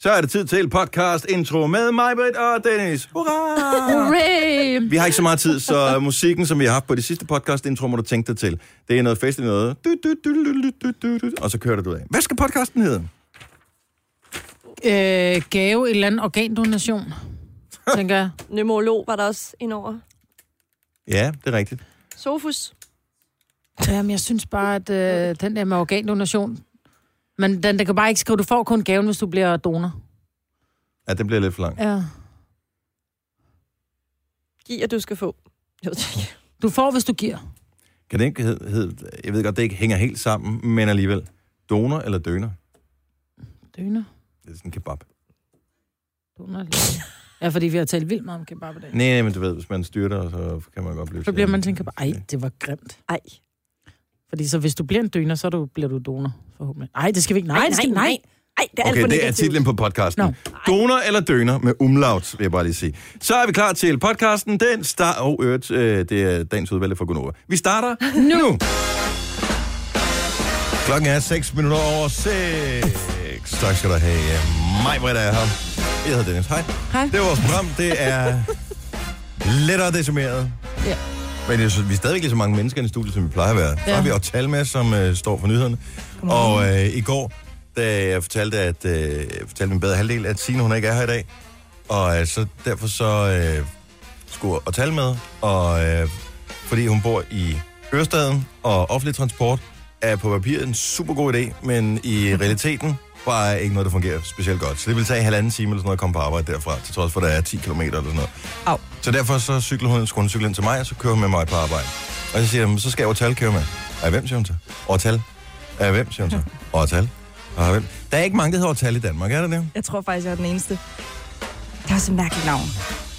Så er det tid til podcast intro med mig, Britt og Dennis. Hurra! Hooray! Vi har ikke så meget tid, så musikken, som vi har haft på de sidste podcast intro, må du tænke dig til. Det er noget festligt noget. Du, du, du, du, du, du, du, du, og så kører du af. Hvad skal podcasten hedde? Øh, gave et eller andet organdonation, tænker jeg. Pneumolog var der også indover. Ja, det er rigtigt. Sofus. Jamen, jeg synes bare, at øh, den der med organdonation, men den, den kan bare ikke skrive, du får kun gaven, hvis du bliver donor. Ja, den bliver lidt for lang. Ja. Giv, at du skal få. Jeg ved det ikke. Du får, hvis du giver. Kan det ikke hedde... Hed, jeg ved godt, det ikke hænger helt sammen, men alligevel. Donor eller døner? Døner. Det er sådan en kebab. Donor. eller- Ja, fordi vi har talt vildt meget om kebab i dag. Nej, nej, men du ved, hvis man styrter, så kan man godt blive... Så bliver man tænker, ej, det var grimt. Ej. Fordi så hvis du bliver en døner, så er du, bliver du donor, forhåbentlig. Nej, det skal vi ikke. Nej, Ej, det skal, nej, nej. Ej, det er alt Okay, for det er negativt. titlen på podcasten. Nå. Donor eller døner med umlaut, vil jeg bare lige sige. Så er vi klar til podcasten. Den starter... Og oh, øvrigt, øh, det er dagens udvalg for Gunova. Vi starter nu. Klokken er 6 minutter over 6. Tak skal du have. Mig, Britt, er her. Jeg hedder Dennis. Hej. Hej. Det er vores program. Det er lettere decimeret. Ja. Men det er, så- vi er stadigvæk lige så mange mennesker i studiet, som vi plejer at være. Så Ja. har vi Otal med, som øh, står for nyhederne. Og øh, i går, da jeg fortalte, at, øh, jeg fortalte min bedre halvdel, at Signe, hun ikke er her i dag. Og øh, så derfor så øh, skulle Otal med. Og øh, fordi hun bor i Ørestaden, og offentlig transport er på papiret en super god idé, men i realiteten bare ikke noget, der fungerer specielt godt. Så det vil tage halvanden time eller sådan noget at komme på arbejde derfra, til trods for, at der er 10 km eller sådan noget. Au. Så derfor så cykler hun, skulle hun cykle ind til mig, og så kører hun med mig på arbejde. Og så siger hun, så skal jeg Overtal køre med. Og hvem, siger hun så? Overtal. Og hvem, siger hun så? Overtal. Og hvem? Der er ikke mange, der hedder Overtal i Danmark, er der det? Jeg tror faktisk, jeg er den eneste. Det er også et mærkeligt navn.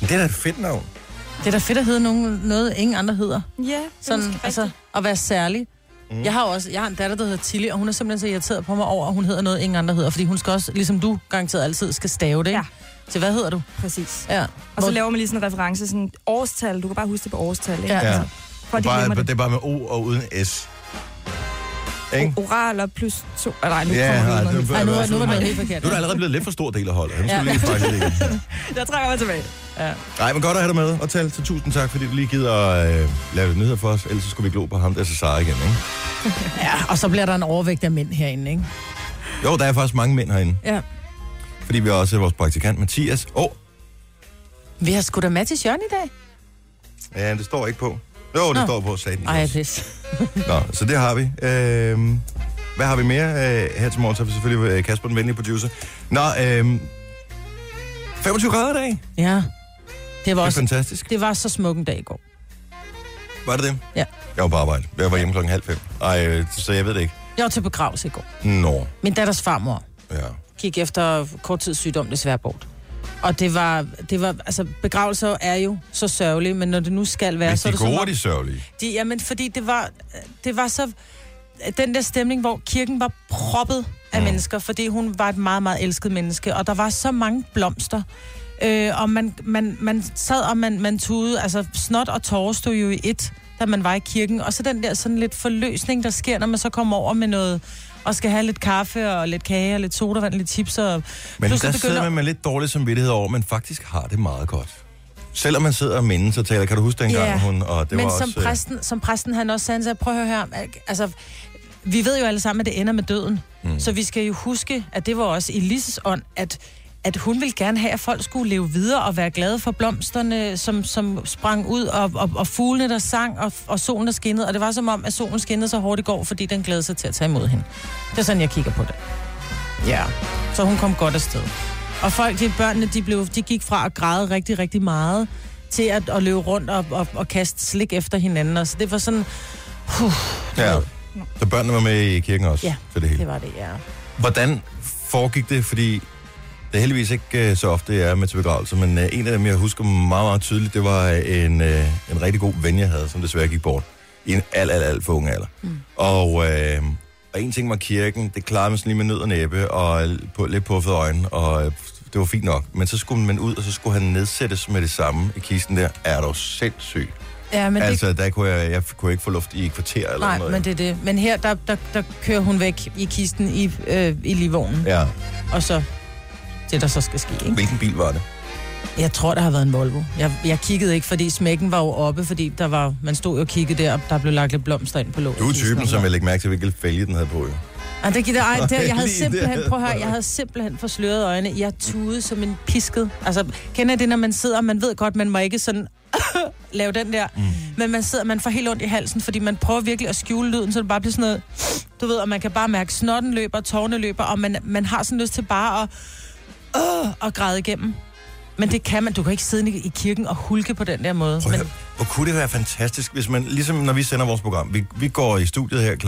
Men det er da et fedt navn. Det er da fedt at hedde nogen, noget, ingen andre hedder. Ja, Sådan, altså, at være særlig. Mm. Jeg har jo også, jeg har en datter, der hedder Tilly, og hun er simpelthen så irriteret på mig over, at hun hedder noget, ingen andre hedder. Fordi hun skal også, ligesom du garanteret altid, skal stave det, ikke? Ja. Så hvad hedder du? præcis. Ja. Og så laver man lige sådan en reference, sådan et årstal. Du kan bare huske det på årstal, ikke? Altså, Ja. Ja. For Det de er, bare, glemmer det det. er bare med O og uden S. Ikke? O- Oraler plus to. Ah, nej, nu Ja, kommer nej, vi det noget. var- Ej, være nu, nu var sådan det noget. helt forkert. Nu er der allerede blevet lidt for stor del af holdet. Han skal Ja. lige faktisk lige. Jeg trækker mig tilbage. Nej, men godt at have dig med og tale. Så tusind tak, fordi du lige gider at øh, lave lidt nyheder for os. Ellers så skulle vi glo på ham, der er Cesar igen, ikke? Ja, og så bliver der en overvægt af mænd herinde, ikke? Jo, der er faktisk mange mænd herinde. Ja. Fordi vi har også vores praktikant Mathias. Åh, oh, Vi har sgu da med til Jørgen i dag. ja, det står ikke på. Jo, det Nå. står på, sagde den. Ej, også. pis. Nå, så det har vi. Øhm, hvad har vi mere øh, her til morgen? Så har vi selvfølgelig øh, Kasper, den venlige producer. Nå, øhm, 25 grader i dag. Det Ja. Det var, er også, fantastisk. det var så smuk en dag i går. Var det det? Ja. Jeg var på arbejde. Jeg var hjemme klokken halv fem. Ej, øh, så jeg ved det ikke. Jeg var til begravelse i går. Nå, Min datters farmor ja. gik efter kort tid sygdom desværre bort. Og det var, det var, altså begravelser er jo så sørgelige, men når det nu skal være, Hvis så er de det som gode, om- de sørgelige. De, jamen, fordi det var, det var så... Den der stemning, hvor kirken var proppet af mm. mennesker, fordi hun var et meget, meget elsket menneske, og der var så mange blomster. Øh, og man, man, man sad og man, man tude, altså snot og tårer stod jo i et, da man var i kirken. Og så den der sådan lidt forløsning, der sker, når man så kommer over med noget, og skal have lidt kaffe og lidt kage og lidt sodavand, lidt chips. Og Men der pludselig sidder man med lidt dårlig samvittighed over, men faktisk har det meget godt. Selvom man sidder og mindes og taler, kan du huske dengang, Ja, hun... Og det Men var som, også, øh, præsten, som præsten han også sagde, han sagde, prøv at høre her, altså, vi ved jo alle sammen, at det ender med døden. Mm. Så vi skal jo huske, at det var også i Lises ånd, at, at hun ville gerne have, at folk skulle leve videre og være glade for blomsterne, som, som sprang ud, og, og, og fuglene, der sang, og, og solen, der skinnede. Og det var som om, at solen skinnede så hårdt i går, fordi den glædede sig til at tage imod hende. Det er sådan, jeg kigger på det. Ja. Så hun kom godt afsted. Og folk, de børnene, de, blev, de gik fra at græde rigtig, rigtig meget, til at, at løbe rundt og, og, og kaste slik efter hinanden. Og så det var sådan, Ja. Så børnene var med i kirken også Ja, for det hele. det var det, ja. Hvordan foregik det? Fordi det er heldigvis ikke øh, så ofte, jeg er med til begravelser, men øh, en af dem, jeg husker meget, meget tydeligt, det var øh, en, øh, en rigtig god ven, jeg havde, som desværre gik bort i en alt, alt, alt for ung alder. Mm. Og, øh, og en ting var kirken, det klarede man sådan lige med nød og næppe, og på, lidt puffet øjne, og øh, det var fint nok. Men så skulle man ud, og så skulle han nedsættes med det samme i kisten der. Er du sindssyg? Ja, men altså, altså, der kunne jeg, jeg kunne ikke få luft i et kvarter det, eller nej, noget. men det er det. Men her, der, der, der kører hun væk i kisten i, øh, i livvognen, ja. Ja. og så det, der så skal ske. Ikke? Hvilken bil var det? Jeg tror, der har været en Volvo. Jeg, jeg kiggede ikke, fordi smækken var jo oppe, fordi der var, man stod jo og kiggede der, og der blev lagt lidt blomster ind på låget. Du er typen, som jeg lægger mærke til, hvilken fælge den havde på. Jo. Ej, det gider, ej, der, jeg havde Lige simpelthen, der. prøv at høre, jeg havde simpelthen forsløret øjne. Jeg tude som en pisket. Altså, kender I det, når man sidder, og man ved godt, man må ikke sådan lave den der. Mm. Men man sidder, man får helt ondt i halsen, fordi man prøver virkelig at skjule lyden, så det bare bliver sådan noget, du ved, og man kan bare mærke, snotten løber, tårne løber, og man, man har sådan lyst til bare at, øh, at græde igennem. Men det kan man, du kan ikke sidde i i kirken og hulke på den der måde. Prøv at Men, høre, hvor kunne det være fantastisk, hvis man, ligesom når vi sender vores program, vi, vi går i studiet her kl.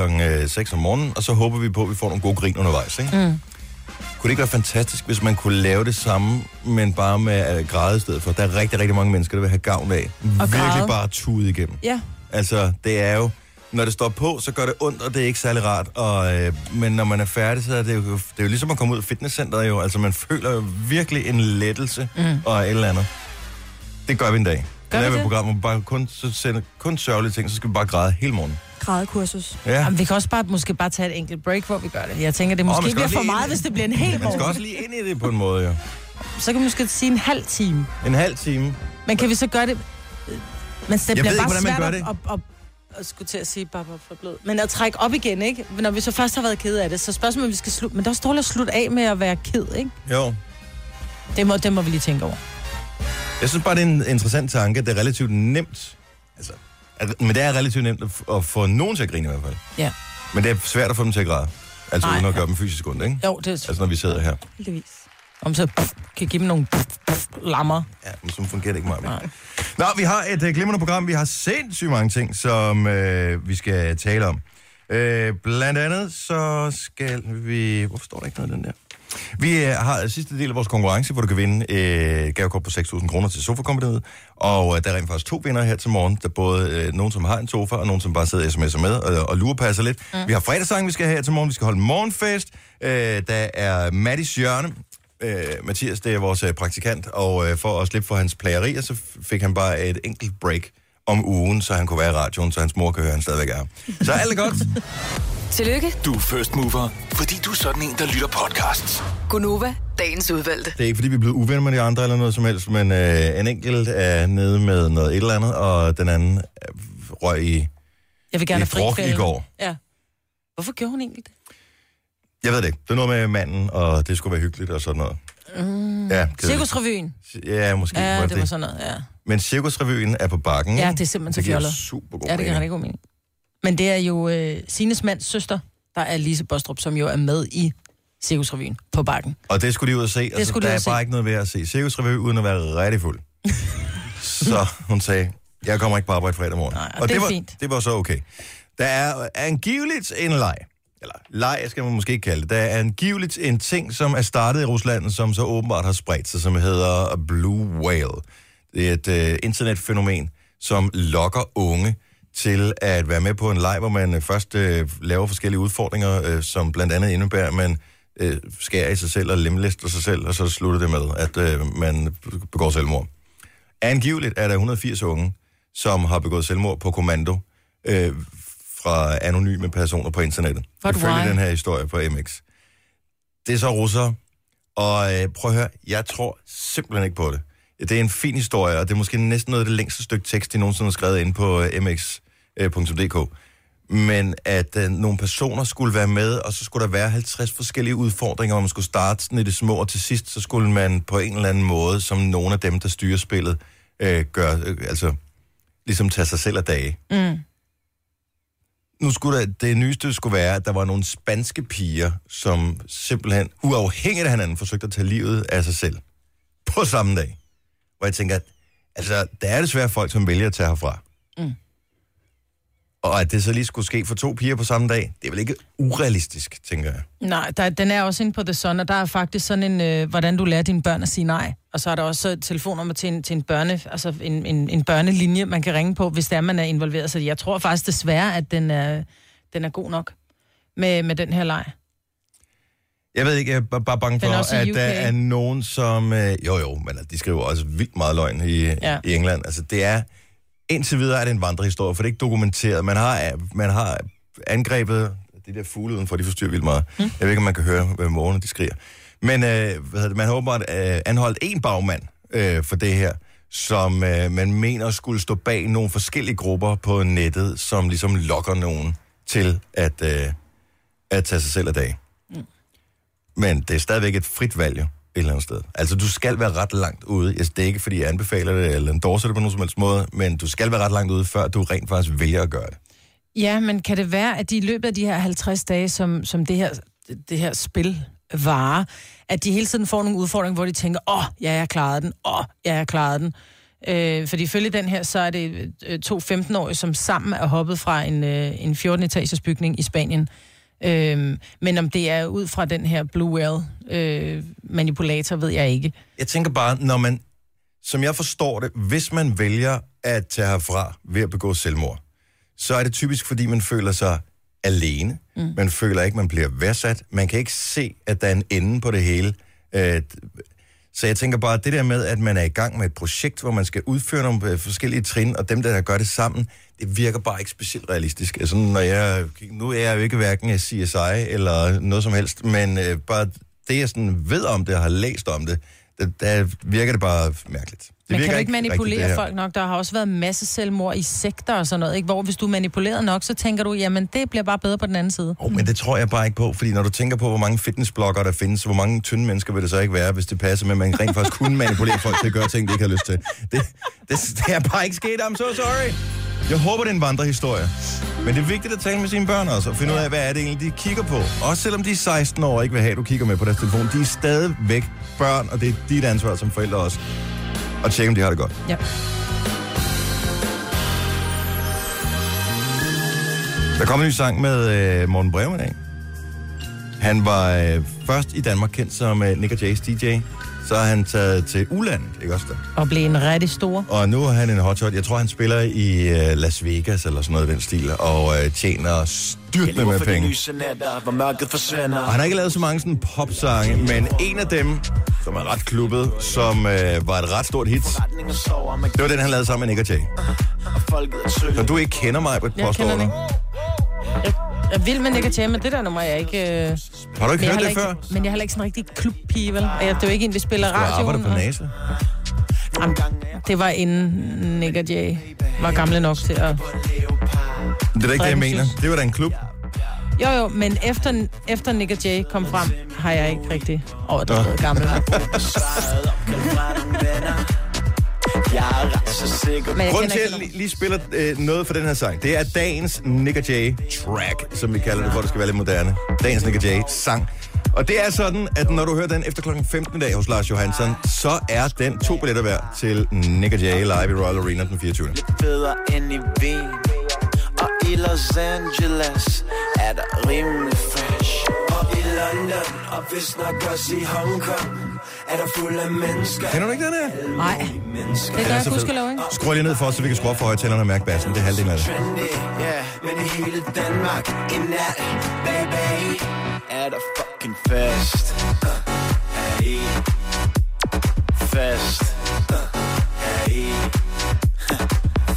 6 om morgenen, og så håber vi på, at vi får nogle gode grin undervejs, ikke? Mm. Kunne det ikke være fantastisk, hvis man kunne lave det samme, men bare med øh, græde i stedet for? Der er rigtig, rigtig mange mennesker, der vil have gavn af. Virkelig græde. bare tude igennem. ja, Altså, det er jo... Når det står på, så gør det ondt, og det er ikke særlig rart. Og, øh, men når man er færdig, så er det, jo, det er jo ligesom at komme ud af fitnesscenteret jo. Altså, man føler jo virkelig en lettelse mm. og et eller andet. Det gør vi en dag. Gør Gør vi vi det? et program, hvor vi bare kun, så sender kun sørgelige ting, så skal vi bare græde hele morgen. Grædekursus. Ja. Jamen, vi kan også bare, måske bare tage et enkelt break, hvor vi gør det. Jeg tænker, det man måske skal bliver også for lige- meget, hvis det bliver en hel Man skal morgen. også lige ind i det på en måde, jo. Så kan vi måske sige en halv time. En halv time. Men kan vi så gøre det... Men det bliver ved ikke, bare hvordan man svært gør at, det. at, at, at, skulle til at sige bare bare for blød. Men at trække op igen, ikke? Når vi så først har været ked af det, så spørgsmålet, er, om vi skal slutte... Men der er også dårligt at slutte af med at være ked, ikke? Jo. Det må, det må vi lige tænke over. Jeg synes bare, det er en interessant tanke. Det er relativt nemt. Altså, at- men det er relativt nemt at f- at få nogen til at grine i hvert fald. Ja. Men det er svært at få dem til at græde. Altså Nej. uden at gøre dem fysisk ondt, ikke? Jo, det er... Altså når vi sidder her. Heldigvis. Om så pff, kan give dem nogle pff, pff, lammer. Ja, men sådan fungerer det ikke meget. Nej. Nå, vi har et øh, glimrende program. Vi har sindssygt mange ting, som øh, vi skal tale om. Øh, blandt andet så skal vi... Hvorfor står der ikke noget af den der? Vi øh, har sidste del af vores konkurrence, hvor du kan vinde øh, et gavekort på 6.000 kroner til sofa -kompaniet. Og øh, der er rent faktisk to vinder her til morgen. Der er både øh, nogen, som har en sofa, og nogen, som bare sidder og sms'er med øh, og, og lurepasser lidt. Mm. Vi har fredagssangen, vi skal have her til morgen. Vi skal holde morgenfest. Øh, der er Mattis Jørne, øh, Mathias, det er vores øh, praktikant, og øh, for at slippe for hans plagerier, så f- fik han bare et enkelt break om ugen, så han kunne være i radioen, så hans mor kan høre, at han stadigvæk er. her. Så alt er godt. Tillykke, Du er first mover, fordi du er sådan en, der lytter podcasts. Gunova, dagens udvalgte. Det er ikke, fordi vi er blevet uvenner med de andre eller noget som helst, men øh, en enkelt er nede med noget et eller andet, og den anden øh, røg i... Jeg vil gerne Vi have brugte frikvælde. i går. Ja. Hvorfor gjorde hun egentlig det? Jeg ved det ikke. Det er noget med manden, og det skulle være hyggeligt og sådan noget. Mm. Ja, kedeligt. Cirkusrevyen. Ja, måske. Ja, var det var sådan noget, ja. Men Cirkusrevyen er på bakken. Ja, ikke? det er simpelthen så Mm. det giver fjollet. super god Ja, det giver rigtig god mening. Men det er jo øh, Sines mands søster, der er Lise Bostrup, som jo er med i Cirkusrevyen på Bakken. Og det skulle de ud og se. Det altså, skulle de der ud er at se. bare ikke noget ved at se cirkusrevy, uden at være rigtig fuld. så hun sagde, jeg kommer ikke på arbejde fredag morgen. Nej, og det er var, fint. det var så okay. Der er angiveligt en leg, eller leg skal man måske ikke kalde det, der er angiveligt en ting, som er startet i Rusland, som så åbenbart har spredt sig, som hedder Blue Whale. Det er et øh, internetfænomen, som lokker unge til at være med på en leg, hvor man øh, først øh, laver forskellige udfordringer, øh, som blandt andet indebærer, at man øh, skærer i sig selv og lemlæster sig selv, og så slutter det med, at øh, man begår selvmord. Angiveligt er der 180 unge, som har begået selvmord på kommando øh, fra anonyme personer på internettet. But Ifølge why? den her historie på MX. Det er så russere, og øh, prøv at høre, jeg tror simpelthen ikke på det. Det er en fin historie, og det er måske næsten noget af det længste stykke tekst, de nogensinde har skrevet ind på øh, mx.dk. Men at øh, nogle personer skulle være med, og så skulle der være 50 forskellige udfordringer, og man skulle starte sådan i det små, og til sidst, så skulle man på en eller anden måde, som nogle af dem, der styrer spillet, øh, gør, øh, altså ligesom tage sig selv af dage. Mm. Nu skulle der, det nyeste skulle være, at der var nogle spanske piger, som simpelthen uafhængigt af hinanden forsøgte at tage livet af sig selv på samme dag. Hvor jeg tænker, at altså, der er desværre folk, som vælger at tage herfra. Mm. Og at det så lige skulle ske for to piger på samme dag, det er vel ikke urealistisk, tænker jeg. Nej, der, den er også inde på The Sun, og der er faktisk sådan en, øh, hvordan du lærer dine børn at sige nej. Og så er der også et telefonnummer til en, til en, børne, altså en, en, en børnelinje, man kan ringe på, hvis der man er involveret. Så jeg tror faktisk desværre, at den er, den er god nok med, med den her leg. Jeg ved ikke, jeg er bare- bare bange Den er for, også i at UK. der er nogen, som... Øh, jo, jo, men de skriver også vildt meget løgn i, ja. Ja. i England. Altså, det er... Indtil videre er det en vandrehistorie, for det er ikke dokumenteret. Man har, øh, man har angrebet... De der fugle udenfor, de forstyrrer vildt meget. Mm. Jeg ved ikke, om man kan høre, hvad morgenen de skriger. Men øh, hvad hedder det, man har åbenbart øh, anholdt en bagmand øh, for det her, som øh, man mener skulle stå bag nogle forskellige grupper på nettet, som ligesom lokker nogen til at, øh, at tage sig selv af dag. Mm. Men det er stadigvæk et frit valg jo, et eller andet sted. Altså, du skal være ret langt ude. Altså, det er ikke, fordi jeg anbefaler det, eller endorser det på nogen som helst måde, men du skal være ret langt ude, før du rent faktisk vælger at gøre det. Ja, men kan det være, at de i løbet af de her 50 dage, som, som det, her, det her spil varer, at de hele tiden får nogle udfordringer, hvor de tænker, åh, oh, ja, jeg klarede den, åh, oh, ja, jeg klarede den. Øh, fordi ifølge den her, så er det øh, to 15-årige, som sammen er hoppet fra en, øh, en 14-etagers bygning i Spanien. Øh, men om det er ud fra den her Blue Whale øh, manipulator, ved jeg ikke. Jeg tænker bare, når man, som jeg forstår det, hvis man vælger at tage herfra ved at begå selvmord, så er det typisk, fordi man føler sig alene. Mm. Man føler ikke, man bliver værdsat. Man kan ikke se, at der er en ende på det hele. Øh, Så jeg tænker bare, at det der med, at man er i gang med et projekt, hvor man skal udføre nogle øh, forskellige trin, og dem, der gør det sammen, det virker bare ikke specielt realistisk. Altså, når jeg, nu er jeg jo ikke hverken øh, CSI eller noget som helst, men øh, bare det, jeg sådan ved om det og har læst om det, det der virker det bare mærkeligt. Det Det man virker kan jo ikke rigtigt, det manipulere her. rigtigt, folk nok. Der har også været masse selvmord i sekter og sådan noget, ikke? hvor hvis du er manipuleret nok, så tænker du, jamen det bliver bare bedre på den anden side. Oh, men det tror jeg bare ikke på, fordi når du tænker på, hvor mange fitnessbloggere der findes, hvor mange tynde mennesker vil det så ikke være, hvis det passer med, at man rent faktisk kunne manipulere folk til at gøre ting, de ikke har lyst til. Det, det, det er bare ikke sket, I'm so sorry. Jeg håber, det er en vandrehistorie. Men det er vigtigt at tale med sine børn også, og finde ud af, hvad er det egentlig, de kigger på. Også selvom de er 16 år og ikke vil have, at du kigger med på deres telefon. De er stadigvæk børn, og det er dit ansvar som forældre også. Og tjekke, om de har det godt. Ja. Der kom en ny sang med øh, Morten Breum i dag. Han var øh, først i Danmark kendt som øh, Nick Jay's DJ. Så er han taget til Ulandet, ikke også der? Og blive en rigtig stor. Og nu er han en hotshot. Jeg tror, han spiller i øh, Las Vegas eller sådan noget i den stil, og øh, tjener styrtende med penge. hvor mørket forsvinder. Og han har ikke lavet så mange sådan popsange, men en af dem, som er ret klubbet, som øh, var et ret stort hit, det var den, han lavede sammen med Nick Jay. Så du ikke kender mig, på Jeg påstår kender du? den Jeg, jeg vil, men det kan tjene, men det der nummer, jeg er ikke... Øh, Har du ikke hørt men, jeg er heller det ikke før? men jeg er heller ikke sådan en rigtig klubpige, vel? Og jeg, det er jo ikke en, vi spiller Du radioen. arbejder på og- NASA. Jamen, det var inden Nick og Jay var gamle nok til at... Det er da ikke det, jeg Drikkens mener. juice. Det var da en klub. Jo, jo, men efter, efter Nick og Jay kom frem, har jeg ikke rigtig... Åh, oh, det Nå. er blevet gammel. Men jeg Grunden kender til, at Øh, ikke jeg nummeret. lige- lige spiller øh, noget for den her sang, det er dagens Nick Jay track, som vi kalder det, for at det skal være lidt moderne. Dagens Nick Jay sang. Og det er sådan, at når du hører den efter klokken 15 i dag hos Lars Johansson, så er den to billetter værd til Nick Jay live i Royal Arena den 24. bedre end i Wien Og i Los Angeles er der rimelig fresh Og i London og vist nok også i Hongkong Er der fuld af mennesker Kender du ikke den her? Nej, det gør jeg gudskelov, ikke? Skru lige ned for os, så vi kan skrue op for højtalerne og mærke bassen. Det er halvdelen af det. Trendy, yeah. Men i hele Danmark i nat, baby Er der fucking fest Uh, Hey Fest Uh, Hey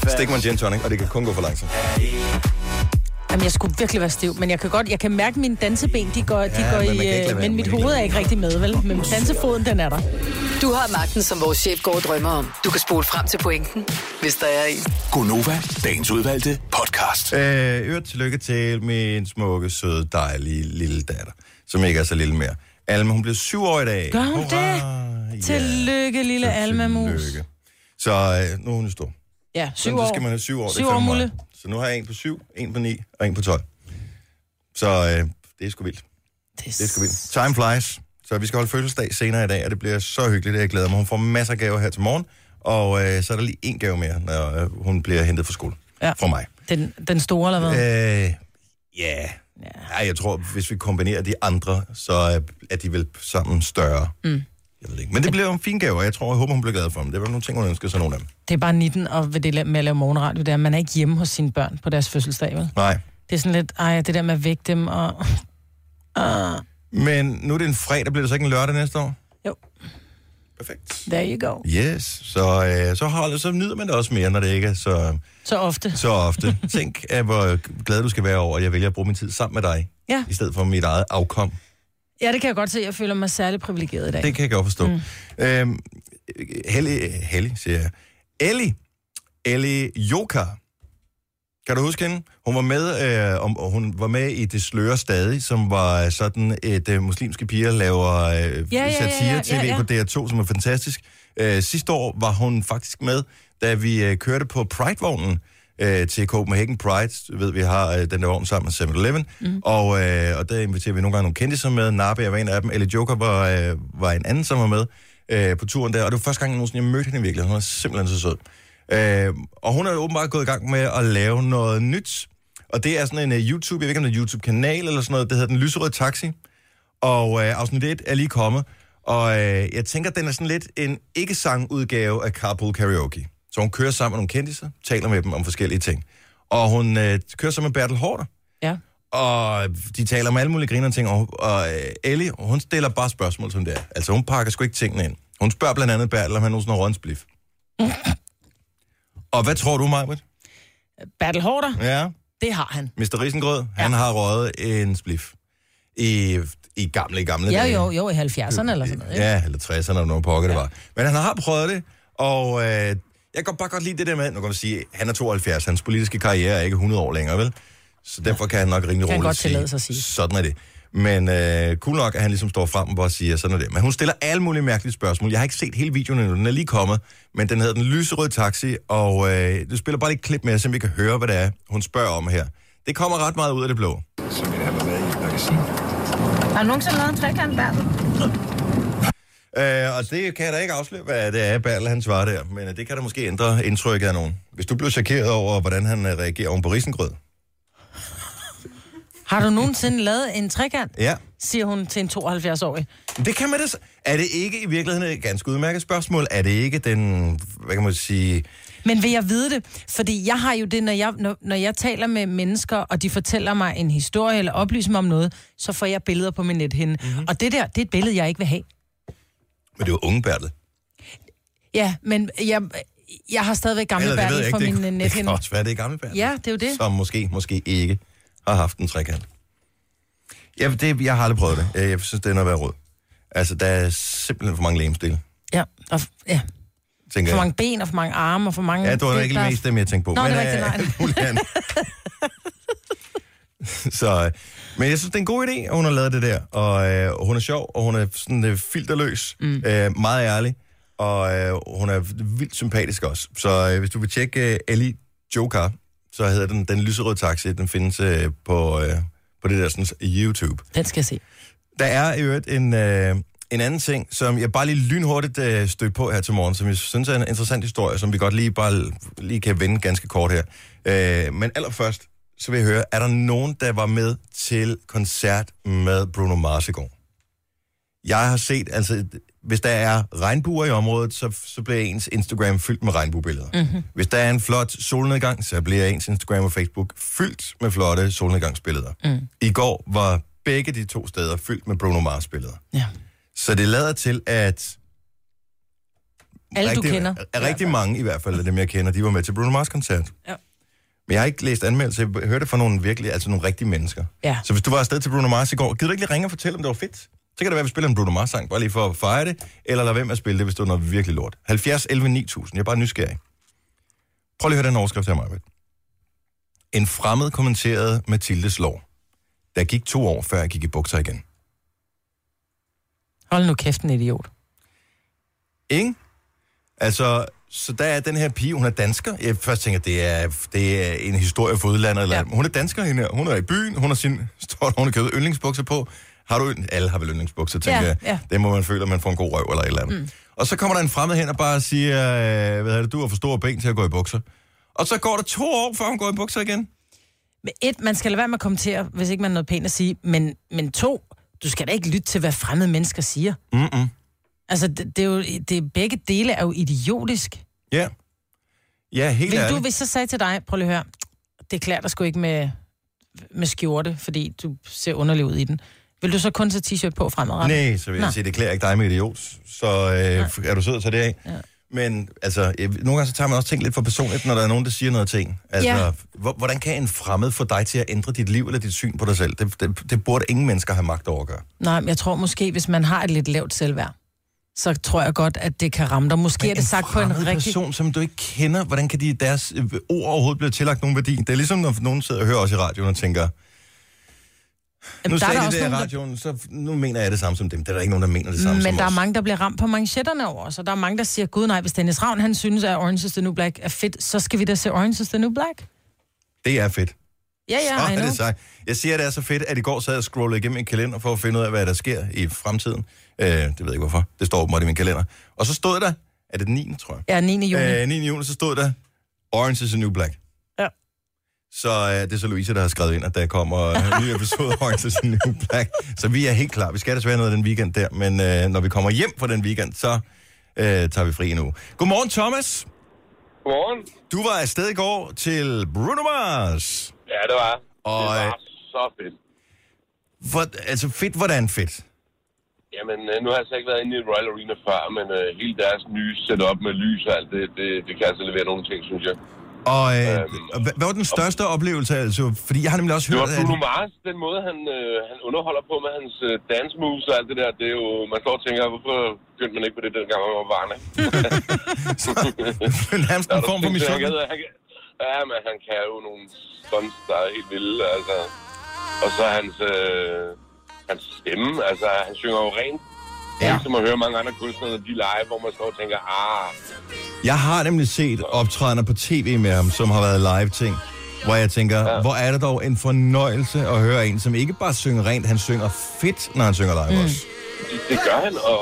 Fest. Stik mig en gin tonic, og det kan kun gå for langsomt. Jamen, jeg skulle virkelig være stiv, men jeg kan godt, jeg kan mærke, at mine danseben, de går, de Ja, går men man kan ikke i, lade øh, være, men man mit kan ikke hoved lade er ikke rigtig med, vel? Men dansefoden, den er der. Du har magten, som vores chef går og drømmer om. Du kan spole frem til pointen, hvis der er en. Gonova, dagens udvalgte podcast. Øh, øvrigt tillykke til min smukke, søde, dejlige lille datter, som ikke er så lille mere. Alma, hun blev syv år i dag. Gør hun det? Tillykke, lille Alma Mus. Så øh, nu er hun jo stor. Ja, syv Sådan, så år. skal man have syv år. det er Syv år, fandme Mulle. meget. Så nu har jeg en på syv, en på ni og en på tolv. Så øh, det er sgu vildt. Det er sgu vildt. Time flies. Så vi skal holde fødselsdag senere i dag, og det bliver så hyggeligt, at jeg glæder mig. Hun får masser af gaver her til morgen, og øh, så er der lige en gave mere, når øh, hun bliver hentet fra skole. Ja. Fra mig. Den, den store, eller hvad? Øh, ja. ja. Jeg tror, hvis vi kombinerer de andre, så øh, er- er de vel sammen større. Mm. Jeg ved det ikke. Men det bliver jo en fin gave, og jeg tror, jeg håber, hun bliver glad for dem. Det var nogle ting, hun ønskede sig nogle af dem. Det er bare 19, og ved det la- med at lave morgenradio, der man er ikke hjemme hos sine børn på deres fødselsdag, vel? Nej. Det er sådan lidt, ej, det der med at vække dem, og... Men nu er det en fredag, bliver det så ikke en lørdag næste år? Jo. Perfekt. There you go. Yes, så, øh, så, holder, så nyder man det også mere, når det ikke er så, Så ofte. så ofte. Tænk, at hvor glad du skal være over, at jeg vælger at bruge min tid sammen med dig, Ja. i stedet for mit eget afkom. Ja, det kan jeg godt se. Jeg føler mig særlig privilegeret i dag. Det kan jeg godt forstå. Mm. Øhm, Helly, Helly, siger jeg. Ellie. Ellie Joka. Kan du huske hende? Hun var med, øh, om, og hun var med i Det Sløre Stadig, som var sådan et øh, muslimske piger laver øh, ja, ja, ja, satire-tv ja, ja, ja. ja. på DR2, som er fantastisk. Øh, sidste år var hun faktisk med, da vi øh, kørte på Pride-vognen øh, til Copenhagen Pride. Du ved, vi har øh, den der vogn sammen med 7-Eleven, mm. og, øh, og der inviterer vi nogle gange nogle kendte som med. Nabe var en af dem, eller Joker var, øh, var en anden, som var med øh, på turen der, og det var første gang, jeg nogensinde jeg mødte hende i virkeligheden. Hun var simpelthen så sød. Øh, og hun er åbenbart gået i gang med at lave noget nyt, og det er sådan en uh, YouTube, jeg ved ikke om det er en YouTube-kanal eller sådan noget, det hedder Den Lyserøde Taxi. Og øh, afsnit 1 er lige kommet. Og øh, jeg tænker, den er sådan lidt en ikke-sang-udgave af Carpool Karaoke. Så hun kører sammen med nogle kendiser, taler med dem om forskellige ting. Og hun øh, kører sammen med Bertel Hårder, Ja. og de taler om alle mulige griner og ting. Og, og øh, Ellie, hun stiller bare spørgsmål som det er. Altså, hun pakker sgu ikke tingene ind. Hun spørger blandt andet Bertel, om han nogensinde har rådensblif. og hvad tror du, Majbert? Battle Hårder, Ja. det har han. Mr. Risengrød, ja. han har røget en spliff. I, i gamle, gamle Ja, dage. jo, jo, i 70'erne eller sådan noget. ikke? Ja, eller 60'erne, eller nogen pokker ja. det var. Men han har prøvet det, og øh, jeg kan godt- bare godt lide det der med, nu kan man sige, han er 72, hans politiske karriere er ikke 100 år længere, vel? Så derfor kan han nok rimelig Kan han roligt godt tillade sig at sige. sådan er det. Men øh, cool nok, at han ligesom står frem og bare siger, sådan er det. Men hun stiller alle mulige mærkelige spørgsmål. Jeg har ikke set hele videoen endnu, den er lige kommet, men den hedder Den Lyserøde Taxi, og øh, du spiller bare lidt klip med, så vi kan høre, hvad det er, hun spørger om her. Det kommer ret meget ud af det blå. Så vil han have været i et magasin. Har du nogensinde lavet en trekant, Bertel? Øh, og det kan jeg da ikke afsløre, hvad det er, Bertel han svarer der. Men øh, det kan da måske ændre indtrykket af nogen. Hvis du blev chokeret over, hvordan han øh, reagerer oven på risengrød. Har du nogensinde lavet en trekant? Ja. Siger hun til en 72-årig. Det kan man da... s- Er det ikke i virkeligheden et ganske udmærket spørgsmål? Er det ikke den... Hvad kan man sige... Men vil jeg vide det? Fordi jeg har jo det, når jeg, når, når jeg taler med mennesker, og de fortæller mig en historie eller oplyser mig om noget, så får jeg billeder på min nethinde. Mhm. Mm-hmm. Og det der, det er et billede, jeg ikke vil have. Men det var unge Bertel. Ja, men jeg, jeg har stadigvæk gamle det Bertel på Det, min øh, kunne- det kan nethinde. også være, det er gammel Bertel. Ja, det er jo det. Som måske, måske ikke har haft en trekant. Ja, det, jeg har aldrig prøvet det. Jeg, jeg synes, det er noget at være råd. Altså, der er simpelthen for mange lemstille, Ja, og, f- ja. tænker For jeg. mange ben og for mange arme og for mange... Ja, det var da ikke lige mest dem, jeg tænkte på. Nå, det er øh, rigtigt, nej. alt muligt andet. Så, øh, men jeg synes, det er en god idé, at hun har lavet det der. Og øh, hun er sjov, og hun er sådan øh, filterløs. Mm. Øh, meget ærlig. Og øh, hun er vildt sympatisk også. Så øh, hvis du vil tjekke øh, Ellie Joker, så hedder den Den Lyserøde Taxi. Den findes øh, på, øh, på det der sådan, YouTube. Den skal jeg se. Der er i øvrigt en, øh, en anden ting, som jeg bare lige lynhurtigt øh, stødte på her til morgen, som jeg synes er en interessant historie, som vi godt lige bare l- lige kan vende ganske kort her. Øh, men allerførst, så vil jeg høre, er der nogen, der var med til koncert med Bruno Mars i går? Jeg har set, altså, hvis der er regnbuer i området, så, så bliver ens Instagram fyldt med regnbuebilleder. Mm-hmm. Hvis der er en flot solnedgang, så bliver ens Instagram og Facebook fyldt med flotte solnedgangsbilleder. Mm. I går var begge de to steder fyldt med Bruno Mars-billeder. Ja. Så det lader til, at... Alle, du rigtig, kender. Er, rigtig mange i hvert fald af dem, jeg kender, de var med til Bruno Mars-koncert. Ja. Men jeg har ikke læst anmeldelser, jeg hørte det fra nogle virkelig, altså nogle rigtige mennesker. Ja. Så hvis du var afsted til Bruno Mars i går, gider du ikke lige ringe og fortælle, om det var fedt? Så kan det være, at vi spiller en Bruno Mars-sang, bare lige for at fejre det, eller lad være med at spille det, hvis det var noget virkelig lort. 70 11 9000, jeg er bare nysgerrig. Prøv lige at høre den overskrift her, Marvind. En fremmed kommenterede Mathildes lov. Der gik to år, før jeg gik i bukser igen. Hold nu kæft, en idiot. Ikke? Altså, så der er den her pige, hun er dansker. Jeg først tænker, det er, det er en historie for udlandet. Eller, ja. Hun er dansker, hende her. Hun er i byen, hun har sin, står der, hun har købt yndlingsbukser på. Har du ynd- Alle har vel yndlingsbukser, tænker Ja, jeg. ja. Det må man føle, at man får en god røv eller et eller andet. Mm. Og så kommer der en fremmed hen og bare siger, øh, hvad er det, du har for store ben til at gå i bukser. Og så går der to år, før hun går i bukser igen. Men et, man skal lade være med at kommentere, hvis ikke man har noget pænt at sige. Men, men to, du skal da ikke lytte til, hvad fremmede mennesker siger. Mm-mm. Altså, det, det er jo, det, er- begge dele er jo idiotisk. Ja. Ja, helt Vil du, ærligt. hvis jeg sagde til dig, prøv lige at høre, det klæder dig sgu ikke med, med skjorte, fordi du ser underlig ud i den. Vil du så kun tage t-shirt på fremadrettet? Nej, så vil jeg Nå. sige, det klæder ikke dig med idiot, så øh, er du sød at tage det af. Ja. Men altså, øh, nogle gange så tager man også ting lidt for personligt, når der er nogen, der siger noget ting. Altså, Ja. hvor- hvordan kan en fremmed få dig til at ændre dit liv eller dit syn på dig selv? Det, det, det burde ingen mennesker have magt over at gøre. Nej, men jeg tror måske, hvis man har et lidt lavt selvværd, så tror jeg godt, at det kan ramme dig. Måske er det sagt på en fremmed rigtig... person, som du ikke kender, hvordan kan de deres øh, ord overhovedet blive tillagt nogen værdi? Det er ligesom, når nogen sidder og hører os i radioen og tænker, nu Jamen, der er sagde der de også det i nogen, der- Mm, radioen, så nu mener jeg det samme som dem. Det er der ikke nogen, der mener det samme som Men der er os. mange, der bliver ramt på manchetterne over os, og der er mange, der siger, gud nej, hvis Dennis Ravn, han synes, at Orange is the New Black er fedt, så skal vi da se Orange is the New Black. Det er fedt. Ja, Åh, ja, I er know. det sejt. Jeg siger, at det er så fedt, at i går sad jeg og scrollede igennem min kalender for at finde ud af, hvad der sker i fremtiden. Øh, det ved jeg ikke hvorfor. Det står åbenbart i min kalender. Og så stod der, er det den 9. tror jeg? Ja, 9. juni. Øh, 9. juni, så stod der, Orange is the New Black. Ja. Så øh, det er så Louise, der har skrevet ind, at der kommer øh, en ny episode af Orange is the New Black. Så vi er helt klar. Vi skal desværre noget den weekend der, men øh, når vi kommer hjem fra den weekend, så øh, tager vi fri en uge. Godmorgen, Thomas. Godmorgen. Du var afsted i går til Bruno Mars. Ja, det var jeg. Og, Det øh, var så fedt. Hvor, altså fedt, hvordan fedt? Jamen, øh, nu har jeg så ikke været inde i Royal Arena før, men øh, hele deres nye setup med lys og alt det, det, det kan altså levere nogle ting, synes jeg. Og øh, Øhm, og hvad, hvad var den største oplevelse? Altså, fordi jeg har nemlig også Det hørt, var at... Bruno Mars, den måde, han, øh, han underholder på med hans øh, dance moves og alt det der. Det er jo, man står og tænker, hvorfor begyndte man ikke på det, dengang man var barn, ikke? det er nærmest Der er en der form ting, for der- mission. han kan- han kan- Ja, men han kan jo nogle stunts, der er helt vilde, altså. Og så hans, øh, hans stemme, altså han synger jo rent. Ja. Ja. Ligesom at høre mange andre kunstnere, når de live, hvor man står og tænker, ah, Jeg har nemlig set optrædener på tv med ham, som har været live-ting, hvor jeg tænker, ja. hvor er det dog en fornøjelse at høre en, som ikke bare synger rent, han synger fedt, når han synger live mm. også. det- det gør han, og,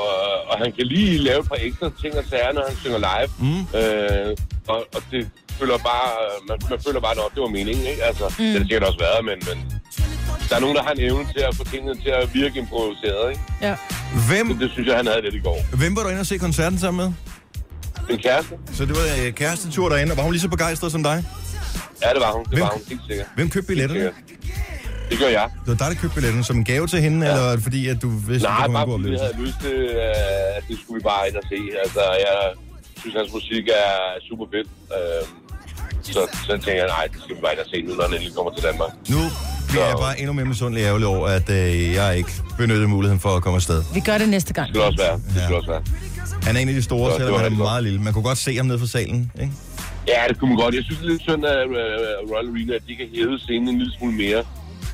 og han kan lige lave et par ekstra ting og sager, når han synger live. Mm. Øh, og, og det føler bare, man, man føler bare, at det var meningen, ikke? Altså, mm. det har det sikkert også været, men, men der er nogen, der har en evne til at få tingene til at virke improviseret, ikke? Ja. Så Hvem, det synes jeg, han havde lidt i går. hvem var du inde og se koncerten sammen med? Min kæreste? Så det var øh, kærestetur derinde, og var hun lige så begejstret som dig? Ja, det var hun. Det Hvem? var hun, helt sikkert. Hvem Helt købte billetterne? sikkert. Det gør jeg. Det var dig, der købte billetterne som en gave til hende, ja. eller var det fordi at du vidste, at Nej, det var bare en god fordi jeg oplevelse? havde lyst til, øh, at det skulle vi bare ind og se. Altså, jeg synes, hans musik er super fed. Øhm, Så, så tænker jeg, nej, det skal vi bare ind og se nu, når han endelig kommer til Danmark. Nu bliver Så- jeg bare endnu mere misundelig ærgerlig over, at øh, jeg ikke benyttede muligheden for at komme afsted. Vi gør det næste gang. Det skulle også være. Det Ja. skulle også være. Han er en af de store, Så det selvom var han er rigtig godt. meget lille. Man kunne godt se ham nede fra salen, ikke? Ja, det kunne man godt. Jeg synes, det er lidt synd, at øh, Royal Arena, at de kan hæve scenen en lille smule mere.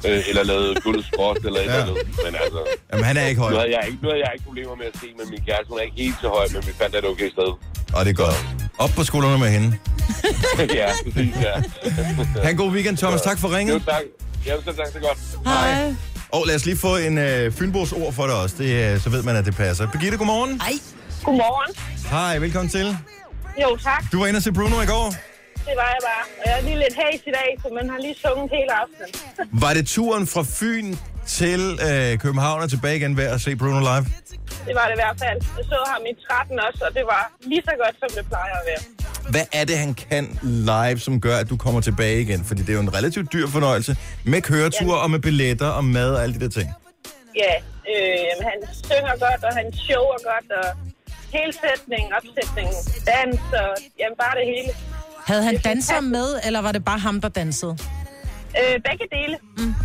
Øh, eller lavet gulvet skråt, eller et Ja. eller andet. Men altså, Jamen, han er ikke høj, nu havde jeg ikke, nu havde jeg ikke problemer med at se, men min kæreste, hun er ikke helt så høj, men vi fandt et okay sted. og det er godt. Op på skuldrene med hende. ja, præcis, ja. Ha' en god weekend, Thomas. Tak for Jo, ringet. tak. Jamen, selv tak, så godt. Hej. Og lad os lige få en øh, Fynbos ord for dig også. Det, øh, så ved man, at det passer. Birgitte, godmorgen. Ej. Godmorgen. Hej, velkommen til. Jo, tak. Du var inde og se Bruno i går. Det var jeg bare. Og jeg er lige lidt hæs i dag, så man har lige sunget hele aftenen. Var det turen fra Fyn til øh, København og tilbage igen ved at se Bruno live? Det var det i hvert fald. Jeg så ham i 13 også, og det var lige så godt, som det plejer at være. Hvad er det, han kan live, som gør, at du kommer tilbage igen? Fordi det er jo en relativt dyr fornøjelse med køretur og med billetter og mad og alle de der ting. Ja, øh, jamen, han synger godt, og han shower godt, og hele sætningen, opsætningen, dans, og jamen bare det hele. Havde han danser med, eller var det bare ham, der dansede? Øh, begge dele. Mm.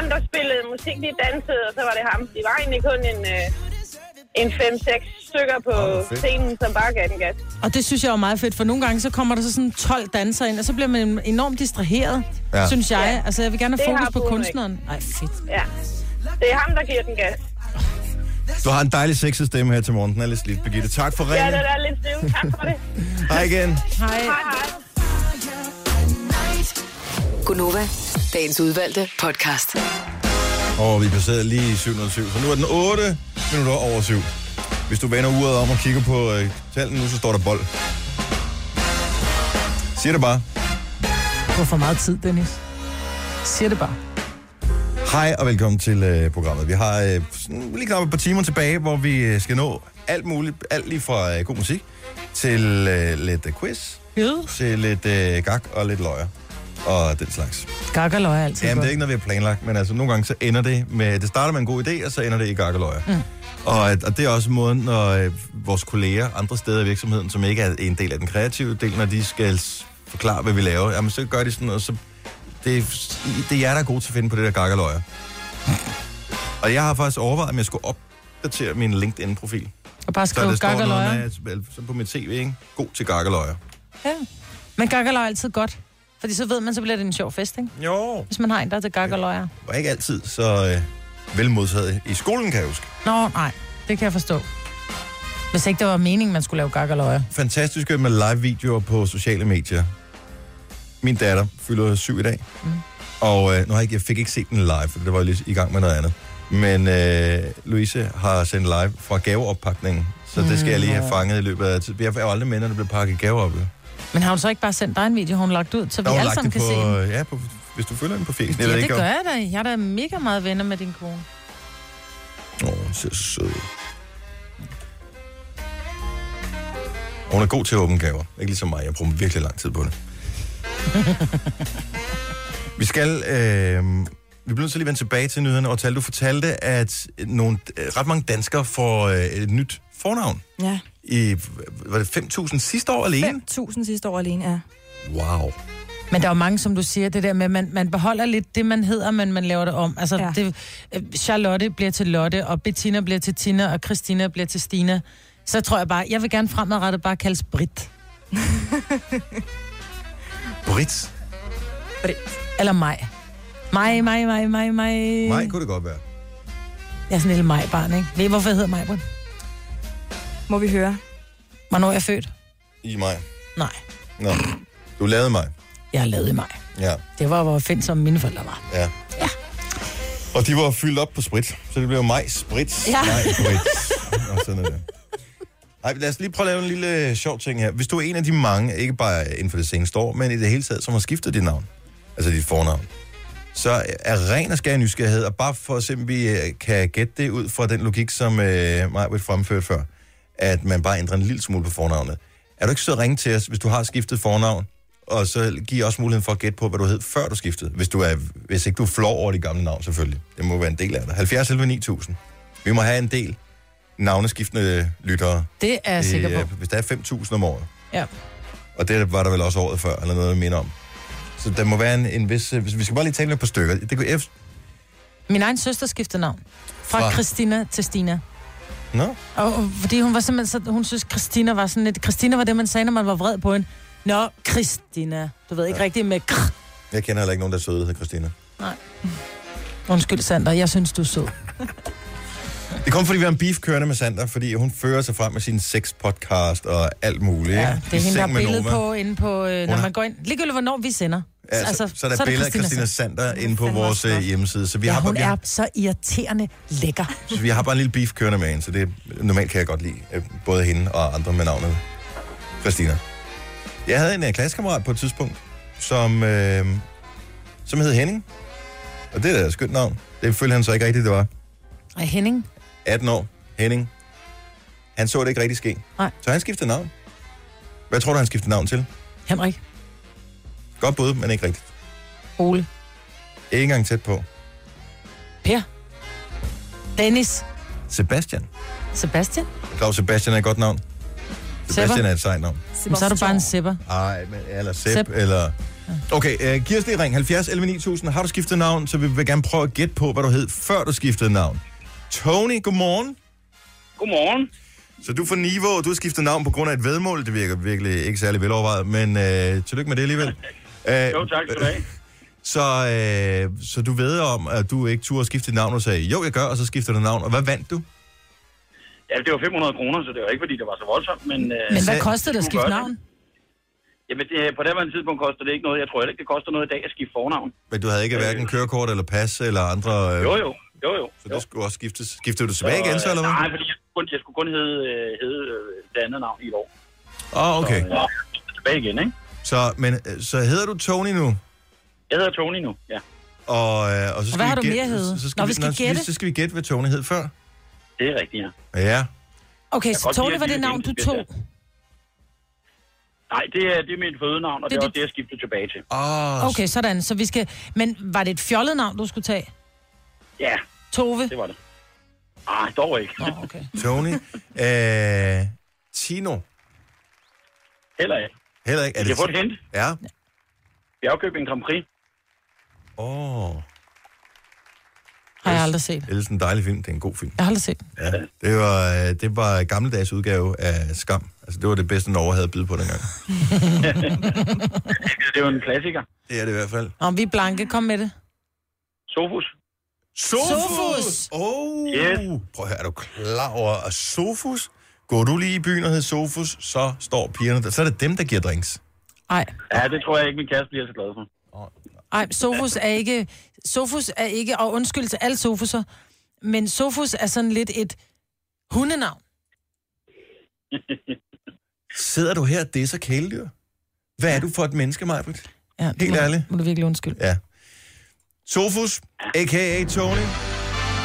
Dem, der spillede musik, de dansede, og så var det ham. De var egentlig kun en, øh, en 5-6 stykker på Åh, fedt. scenen, som bare gav den gas. Og det synes jeg er meget fedt, for nogle gange så kommer der så sådan 12 dansere ind, og så bliver man enormt distraheret, Ja. ja. synes jeg. Ja. Altså, jeg vil gerne have Det har fokus på Bruno kunstneren. Ej, fedt. Ja. Det er ham, der giver den gas. Du har en dejlig sexet stemme her til morgen. Den er lidt slidt, Birgitte. Tak for Ja, ringen. det er lidt stiv. Tak for det. Hej igen. Hej. Hej, hej. Gunova, dagens udvalgte podcast. Og vi passerede lige 707, så nu er den 8 minutter over 7. Hvis du vender uret om og kigger på øh, tallene nu, så står der bold. Siger det bare. Du har for meget tid, Dennis. Siger det bare. Hej og velkommen til øh, programmet. Vi har øh, sådan lige knap et par timer tilbage, hvor vi øh, skal nå alt muligt. Alt lige fra øh, god musik til øh, lidt øh, quiz, Gud. til lidt øh, gag og lidt løjer. og den slags. Gakkerløg er altid Jamen, det er godt. ikke noget, vi har planlagt, men altså nogle gange så ender det med, det starter med en god idé, og så ender det i gakkeløjer. Mm. Og, at- og det er også måden, når øh, vores kolleger andre steder i virksomheden, som ikke er en del af den kreative del, når de skal s- forklare, hvad vi laver, jamen så gør de sådan noget, så det, er- det er jer, der er gode til at finde på det der gakkeløjer. Og jeg har faktisk overvejet, om jeg skulle opdatere min LinkedIn-profil. Og bare skrive Så der står noget gakkerløjer. med, at- vel, så på mit CV, ikke? God til gakkeløjer. Ja. Men gakkerløg er altid godt. Fordi så ved man, så bliver det en sjov fest, ikke? Jo. Hvis man har en, der er til gakkerløjer. Og ikke altid så øh, velmodtaget i skolen, kan jeg huske. Nå, nej. Det kan jeg forstå. Hvis ikke det var meningen, man skulle lave gakkerløjer. fantastiske med live-videoer på sociale medier. Min datter fylder syv i dag, mm. og øh, nu har jeg, ikke- jeg fik ikke set den live, for det var jeg lige i gang med noget andet. Men øh, Louise har sendt live fra gaveoppakningen, så det skal jeg lige Mm. have fanget i løbet af tid. Jeg er jo aldrig med, når det bliver pakket gaver op. jo. Men har hun så ikke bare sendt dig en video, hun har lagt ud, så vi Der har hun alle lagt sammen det kan på, øh, se den? Ja, på, hvis du følger den på Facebook. Ja, det gør jeg da. Jeg er da mega meget venner med din kone. Åh, hun ser så sød. ud. Hun er god til at åbne gaver. Ikke ligesom mig. Jeg bruger virkelig lang tid på det. vi skal... Øh, vi bliver nødt til lige at vende tilbage til nyhederne. Og Tal, du fortalte, at nogle, øh, ret mange danskere får øh, et nyt fornavn. Ja. I, øh, var det 5.000 sidste år alene? 5.000 sidste år alene, ja. Wow. Men der er jo mange, som du siger, det der med, at man, man beholder lidt det, man hedder, men man laver det om. Altså, ja. det, øh, Charlotte bliver til Lotte, og Bettina bliver til Tina, og Christina bliver til Stina. Så tror jeg bare, jeg vil gerne fremadrettet bare kaldes Brit. Brits. Brit. Eller mig. Mig, mig, mig, mig, mig. Nej, kunne det godt være. Jeg er sådan en lille maj-barn, ikke? Ved I, hvorfor jeg hedder maj -barn? Må vi høre? Hvornår er jeg født? I mig. Nej. Nå. Du lavede mig. Jeg er lavet i maj. Ja. Det var, hvor fint som mine forældre var. Ja. Og de var fyldt op på sprit, så det blev mig sprit. Ja. Nej, sprit. Og sådan er det. Ej, lad os lige prøve at lave en lille øh, sjov ting her. Hvis du er en af de mange, ikke bare inden for det seneste år, men i det hele taget, som har skiftet dit navn, altså dit fornavn, så er ren og skær nysgerrighed, og bare for at se, om vi øh, kan gætte det ud fra den logik, som øh, mig vil fremføre før, at man bare ændrer en lille smule på fornavnet. Er du ikke så ringe til os, hvis du har skiftet fornavn, og så giv os muligheden for at gætte på, hvad du hed, før du skiftede, hvis, du er, hvis ikke du er flov over de gamle navn, selvfølgelig. Det må være en del af det. 70 11 9000. Vi må have en del navneskiftende lyttere. Det er jeg sikker på. øh, Hvis der er 5.000 om året, Ja. og det var der vel også året før, eller noget, der minder om. Så der må være en, en vis... øh, Vi skal bare lige tale med et par stykker. Det kunne F... Min egen søster skiftede navn. Fra, Fra- Fra Christina til Stina. Nå? Og, og fordi hun var simpelthen så, hun synes, Christina var sådan lidt... Christina var det, man sagde, når man var vred på hende. Nå, Christina. Du ved ikke ja. rigtigt med kr. Jeg kender heller ikke nogen, der er søde, hedder Christina. Nej. Undskyld, Sander. Jeg synes, du er sød. Det kom, fordi vi har en beef kørende med Sander, fordi hun fører sig frem med sin sex-podcast og alt muligt. Ja, Det er hende, der har billede på, inde på, øh, når har- man går ind. Ligegyldigt, hvornår vi sender. Ja, altså, så, så er der billeder af Christina Sander inde på vores øh, hjemmeside. Så vi, Ja, har bare, hun vi, har, er så irriterende lækker. så vi har bare en lille beef kørende med hende, så det, normalt kan jeg godt lide øh, både hende og andre med navnet Christina. Jeg havde en øh, klassekammerat på et tidspunkt, som, øh, som hed Henning. Og det er da et skønt navn. Det følte han så ikke rigtigt, det var. Og Henning, 18 år, Henning. Han så det ikke rigtig ske. Nej. Så han skiftede navn. Hvad tror du, han skiftede navn til? Henrik, Godt bud, men ikke rigtigt. Ole, Ikke engang tæt på. Per, Dennis, Sebastian. Sebastian. Claus Sebastian er et godt navn. Sebastian Sepper. er et sejt navn. Men så er du bare en sipper. Ej, men, eller Sepp, Sepp. eller... Okay, uh, giv os lige ring. 70 11 9000. Har du skiftet navn, så vi vil gerne prøve at gætte på, hvad du hed, før du skiftede navn. Tony, godmorgen. Godmorgen. Så du er fra Niveau, og du har skiftet navn på grund af et vedmål. Det virker virkelig ikke særlig velovervejet, men øh, tillykke med det alligevel. Æh, Jo, tak skal du have. Så, øh, så du ved om, at du ikke turde skifte dit navn, og sagde, jo, jeg gør, og så skifter du navn. Og hvad vandt du? Ja, det var 500 kroner, så det var ikke, fordi det var så voldsomt. Men, øh, Men hvad kostede det kunne at skifte gøre navn? Jamen, det, på det her tidspunkt koster det ikke noget. Jeg tror heller ikke, det koster noget i dag at skifte fornavn. Men du havde ikke hverken kørekort eller pas eller andre... Øh, Øh. Jo, jo. Jo, jo. Så det skulle også skiftes. Skiftede du tilbage igen, så, eller hvad? Nej, fordi jeg skulle kun, jeg skulle kun hedde, øh, hedde øh, det andet navn i et år. Åh, oh, okay. Så, øh, tilbage igen, ikke? Så, men, øh, så hedder du Tony nu, Jeg hedder Tony nu, ja. og, øh, og så skal Og hvad vi har du gætte, mere heddet? Så skal Nå, vi, vi skal nå, så- gætte. Så skal vi gætte, hvad Tony hed før. Det er rigtigt, ja. Ja. Okay, Jeg så kan godt lide, Tony at var de det er navn, du identiske, tog. Nej, det er, det er mit fødenavn, og det, Det er det er også det, jeg skiftede tilbage til. Oh, Okay, sådan. Så vi skal... Men var det et fjollet navn, du skulle tage? Ja. Tove? Det var det. Ah, dog ikke. Oh, okay. Tony. øh, Tino. Heller ikke. Heller ikke. Er det jeg får et hint. Ja. Bjergkøbing Grand Prix. Åh. Oh. Har jeg aldrig set. Det er ellers en dejlig film. Det er en god film. Jeg har aldrig set. den. Ja. Det var, øh, det var gammeldags udgave af Skam. Altså, det var det bedste, Norge havde at byde på dengang. det er jo en klassiker. Det er det i hvert fald. Om vi er blanke, kom med det. Sofus. Sofus! Oh. Yes. Prøv at høre, er du klar over, at Sofus... Går du lige i byen og hedder Sofus, så står pigerne der. Så er det dem, der giver drinks. Nej. Ja, det tror jeg ikke, min kæreste bliver så glad for. Ej, Sofus er ikke... Sofus er ikke... Og undskyld til alle Sofuser. Men Sofus er sådan lidt et hundenavn. Sidder du her, det er så kæledyr. Hvad er du for et menneske, Majbrit? Ja, Helt ærligt. Må du virkelig undskylde. Ja. Sofus, a.k.a. Tony.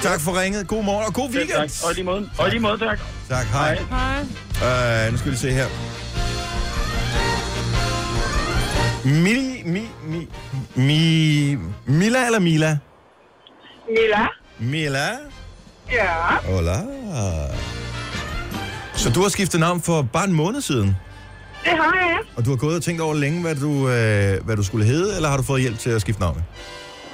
Tak for ringet. God morgen og god Selv weekend. tak. Og i lige måde. Og i lige måde, tak. Tak, hej. Hej. Øh, nu skal vi se her. Mi, mi, mi, mi, Mila eller Mila? Mila? Mila? Ja. Hola. Så du har skiftet navn for bare en måned siden, Det har jeg. og du har gået og tænkt over længe, hvad du, øh, hvad du skulle hedde, eller har du fået hjælp til at skifte navn?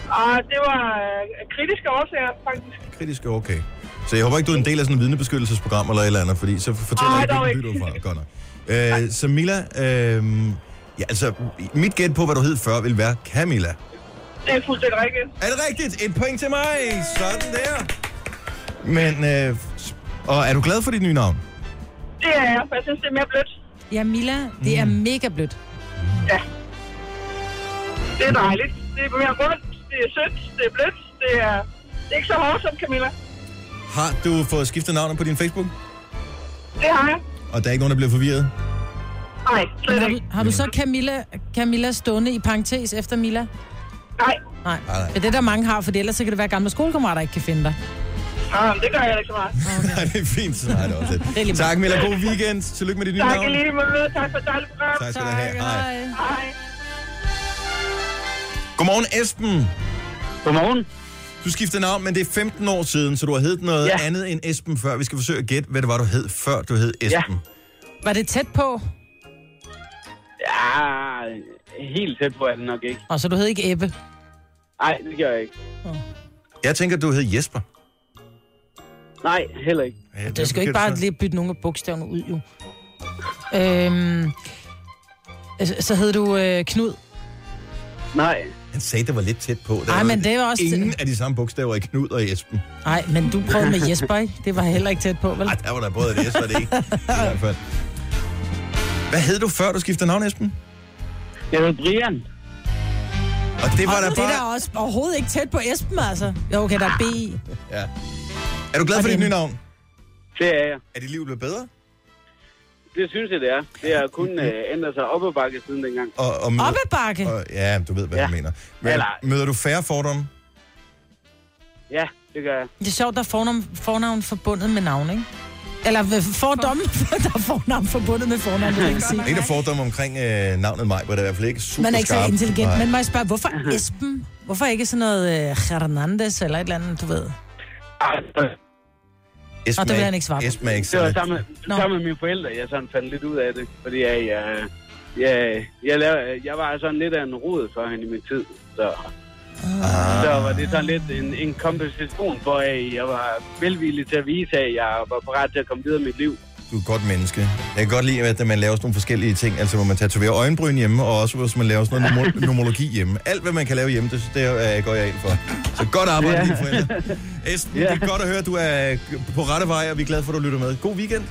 Og det var øh, kritiske årsager, faktisk. Kritisk er okay. Så jeg håber ikke, du er en del af sådan et vidnebeskyttelsesprogram eller et eller andet, fordi så fortæller Ej, jeg ikke, dog hvilken by du er fra. Godt nok. Øh, så Mila, øh, ja, altså, mit gæt på, hvad du hed før, vil være Camilla. Det er fuldstændig rigtigt. Er det rigtigt? Et point til mig. Sådan der. Men, øh, og er du glad for dit nye navn? Det er jeg, for jeg synes, det er mere blødt. Ja, Mila, det er mega blødt. Ja. Det er dejligt. Det er mere rundt, det er sødt, det er blødt, det er, det er ikke så hårdt som Camilla. Har du fået skiftet navnet på din Facebook? Det har jeg. Og der er ikke nogen, der bliver forvirret? Nej, Men har, du, har du så Camilla, Camilla stående i parentes efter Mila? Nej. Nej. Nej, nej. Det er det, der mange har, for ellers så kan det være gamle skolekammerater, der ikke kan finde dig. Ah, men det gør jeg ikke så meget. Nej, det er fint. Sådan er det også lidt. lige meget. Tak, Mila. God weekend. Tillykke med dit nye Tak i navn. lige måde. Tak for et dejligt program. Tak skal du have. Hej. Hej. Godmorgen, Esben. Godmorgen. Du skiftede navn, men det er 15 år siden, så du har heddet noget ja. Ja. andet end Esben før. Vi skal forsøge at gætte, hvad det var, du hed, før du hed Esben. Var det tæt på? Ja, Ah, helt tæt på er det nok ikke. Og så du hed ikke Ebbe. Nej, det gør jeg ikke. Jeg tænker, du hed Jesper. Nej, heller ikke. Ja, Det skal jo ikke bare lige bytte nogle af bogstaverne ud, jo. Øhm, altså, så hed du øh, Knud. Nej. Han sagde, det var lidt tæt på. Der Ej, men det er også- Ingen af de samme bogstaver i Knud og Esben. Nej, men du prøvede med Jesper, ikke? Det var heller ikke tæt på, vel? Ej, der var der både et S og et E. I hvert fald. Hvad hed du før, du skiftede navn, Esben? Jeg hed Brian. Og det var Og da det bare... er da også overhovedet ikke tæt på Esben, altså. Jo, okay, der er B i. Ja. Er du glad for Og dit det- nye navn? Det er jeg. Er dit liv blevet bedre? Det synes jeg, det er. Det har kun øh, ændret sig op ad bakke siden dengang. Og, og Op ad bakke. og, ja, du ved, hvad ja. Ja. jeg mener. Men, Eller- møder du færre fordomme? Ja, det gør jeg. Det er sjovt, der er fornavn, fornavn forbundet med navn, ikke? Eller øh, fordomme, der er fornavn forbundet med fornavn, det vil jeg ikke sige. En af fordomme omkring øh, navnet mig, hvor det er i hvert fald ikke super Man er ikke så skarp. intelligent, Nej. men må jeg spørge, hvorfor Esben? Hvorfor ikke sådan noget øh, Hernandez eller et eller andet, du ved? Esben Nå, det vil er han ikke svare på. Esben er ikke Det var så... sammen, Nå. sammen med mine forældre, jeg sådan faldt lidt ud af det. Fordi jeg, jeg, jeg, jeg, lavede, jeg var sådan lidt af en rod for hende i min tid. Så, Ah. så var det sådan lidt en, en kompensation for, at jeg var velvillig til at vise, at jeg var parat til at komme videre i mit liv. Du er et godt menneske. Jeg kan godt lide, at man laver sådan nogle forskellige ting. Altså, hvor man tatoverer øjenbryn hjemme, og også hvis man laver sådan noget numer- numerologi hjemme. Alt, hvad man kan lave hjemme, det, det øh, går jeg ind for. Så godt arbejde, Ja. dine forældre. Esben, det er godt at høre, at du er på rette vej, og vi er glade for, at du lytter med. God weekend.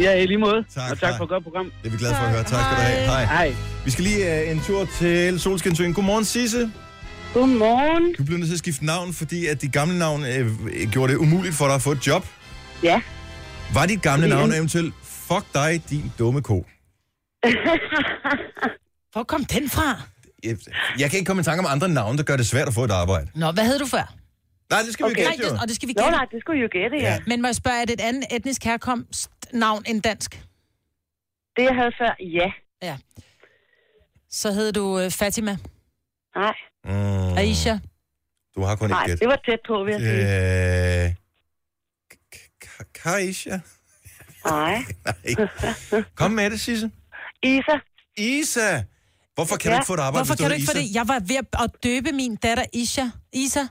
Ja, i lige måde. Tak, og tak hej. for et godt program. Det er vi glade for at høre. Tak skal du have. Hej. Hej. Vi skal lige øh, en tur til Solskinsøen. Godmorgen, Sisse. Godmorgen. Du blev nødt til at skifte navn, fordi at dit gamle navn øh, gjorde det umuligt for dig at få et job. Ja. Var dit gamle Fordi- navn eventuelt, fuck dig, din dumme ko? Hvor kom den fra? Jeg, jeg kan ikke komme i tanke om andre navne, der gør det svært at få et arbejde. Nå, hvad hed du før? Nej, det skal okay. vi jo Nej, gætte, jo. det, og det skal vi Nå, gætte. nej, det skulle I jo gætte, ja. Ja. ja. Men må jeg spørge, er det et andet etnisk herkomstnavn end dansk? Det, jeg havde før, ja. Ja. Så hed du øh, Fatima. Nej. Mm, Aisha. du har kun et Nej, gæt. det var tæt på, vil jeg sige. Øh, K- K- Kaisha? Nej. Nej. Kom med det, Sisse. Isa. Isa! Hvorfor kan ja. du ikke få et arbejde, Hvorfor hvis du kan du ikke hedder få det? Jeg var ved at døbe min datter Isha. Isa.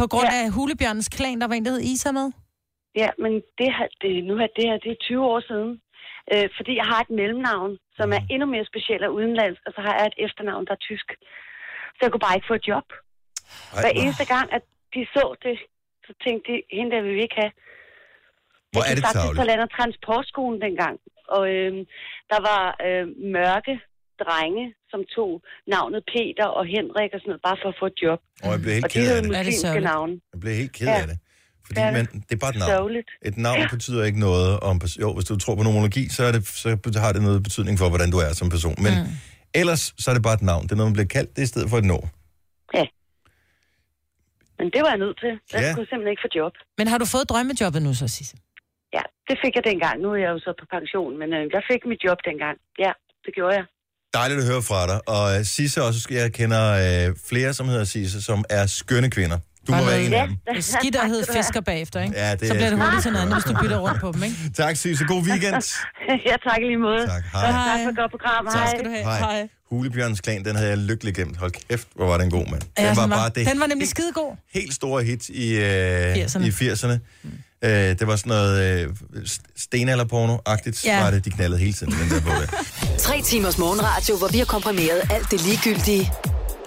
På grund ja. af Hulebjørnens klan, der var en, der hed Isa med. Ja, men det her, det, nu er det her, det er 20 år siden. Øh, fordi jeg har et mellemnavn, som er endnu mere specielt af udenlandsk, og så har jeg et efternavn, der er tysk. Så jeg kunne bare ikke få et job. Ej, Hver hvor- eneste gang, at de så det, så tænkte de, hende der vil vi ikke have. Hvor er det faktisk tavligt? på land- og transportskolen dengang. Og øhm, der var øh, mørke drenge, som tog navnet Peter og Henrik og sådan noget, bare for at få et job. Og jeg blev og helt de ked af hed det. muslimske navne. Jeg blev helt ked Ja. af det. Fordi Ja, man, det er bare et navn. sørgeligt. Et navn ja. betyder ikke noget om... pers- Jo, hvis du tror på nomologi, så, er det, så har det noget betydning for, hvordan du er som person. Men mm. ellers, så er det bare et navn. Det er noget, man bliver kaldt, det er i stedet for et nord. Men det var jeg nødt til. Jeg Ja. ja. kunne simpelthen ikke få job. Men har du fået drømmejobbet nu så, Sisse? Ja, det fik jeg dengang. Nu er jeg jo så på pension, men øh, jeg fik mit job dengang. Ja, det gjorde jeg. Dejligt at høre fra dig. Og øh, Sisse også, jeg kender øh, flere, som hedder Sisse, som er skønne kvinder. Du må være en af dem. Det er skidt at hedde fisker bagefter, ikke? Ja, det så er bliver sgu det hurtigt lidt til noget andet, hvis du bytter rundt på dem, ikke? Tak, Sisse. God weekend. jeg tak i lige måde. Tak, hej. Og tak for et godt program. Tak. Hej. Skal du have. Hej. Hulebjørns Klan, den havde jeg lykkelig glemt. Hold kæft, hvor var den god, mand. Ja, den var, den var- bare det den var nemlig skidegod. Helt store hit i, øh, 80'erne. i 80'erne. Øh, det var sådan noget øh, s- stenalderporno-agtigt, Ja. ja. var det. De knaldede hele tiden, den der på det. Tre timers morgenradio, hvor vi har komprimeret alt det ligegyldige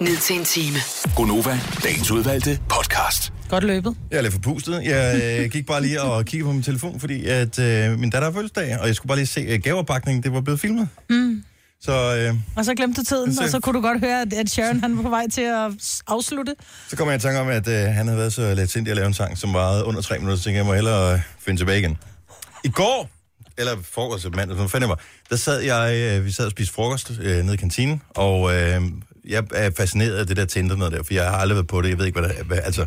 ned til en time. Gonova, dagens udvalgte podcast. Godt løbet. Jeg er lidt forpustet. Jeg øh, gik bare lige og kiggede på min telefon, fordi at, øh, min datter har fødselsdag, og jeg skulle bare lige se øh, gaveopbakningen. Det var blevet filmet. Mm. Så, øh, Og så glemte du tiden, Så- og så kunne du godt høre, at- at Sharon han var på vej til at s- afslutte. så kom jeg i tanke om, at øh, han havde været så let sindig at lave en sang, som varede under tre minutter, så tænkte jeg, jeg må hellere øh, finde tilbage igen. I går, eller frokost, eller mandag, som fanden var, der sad jeg, øh, vi sad og spiste frokost øh, nede i kantinen, og øh, jeg er fascineret af det der Tinder noget der, for jeg har aldrig været på det, jeg ved ikke, hvad der hvad, altså,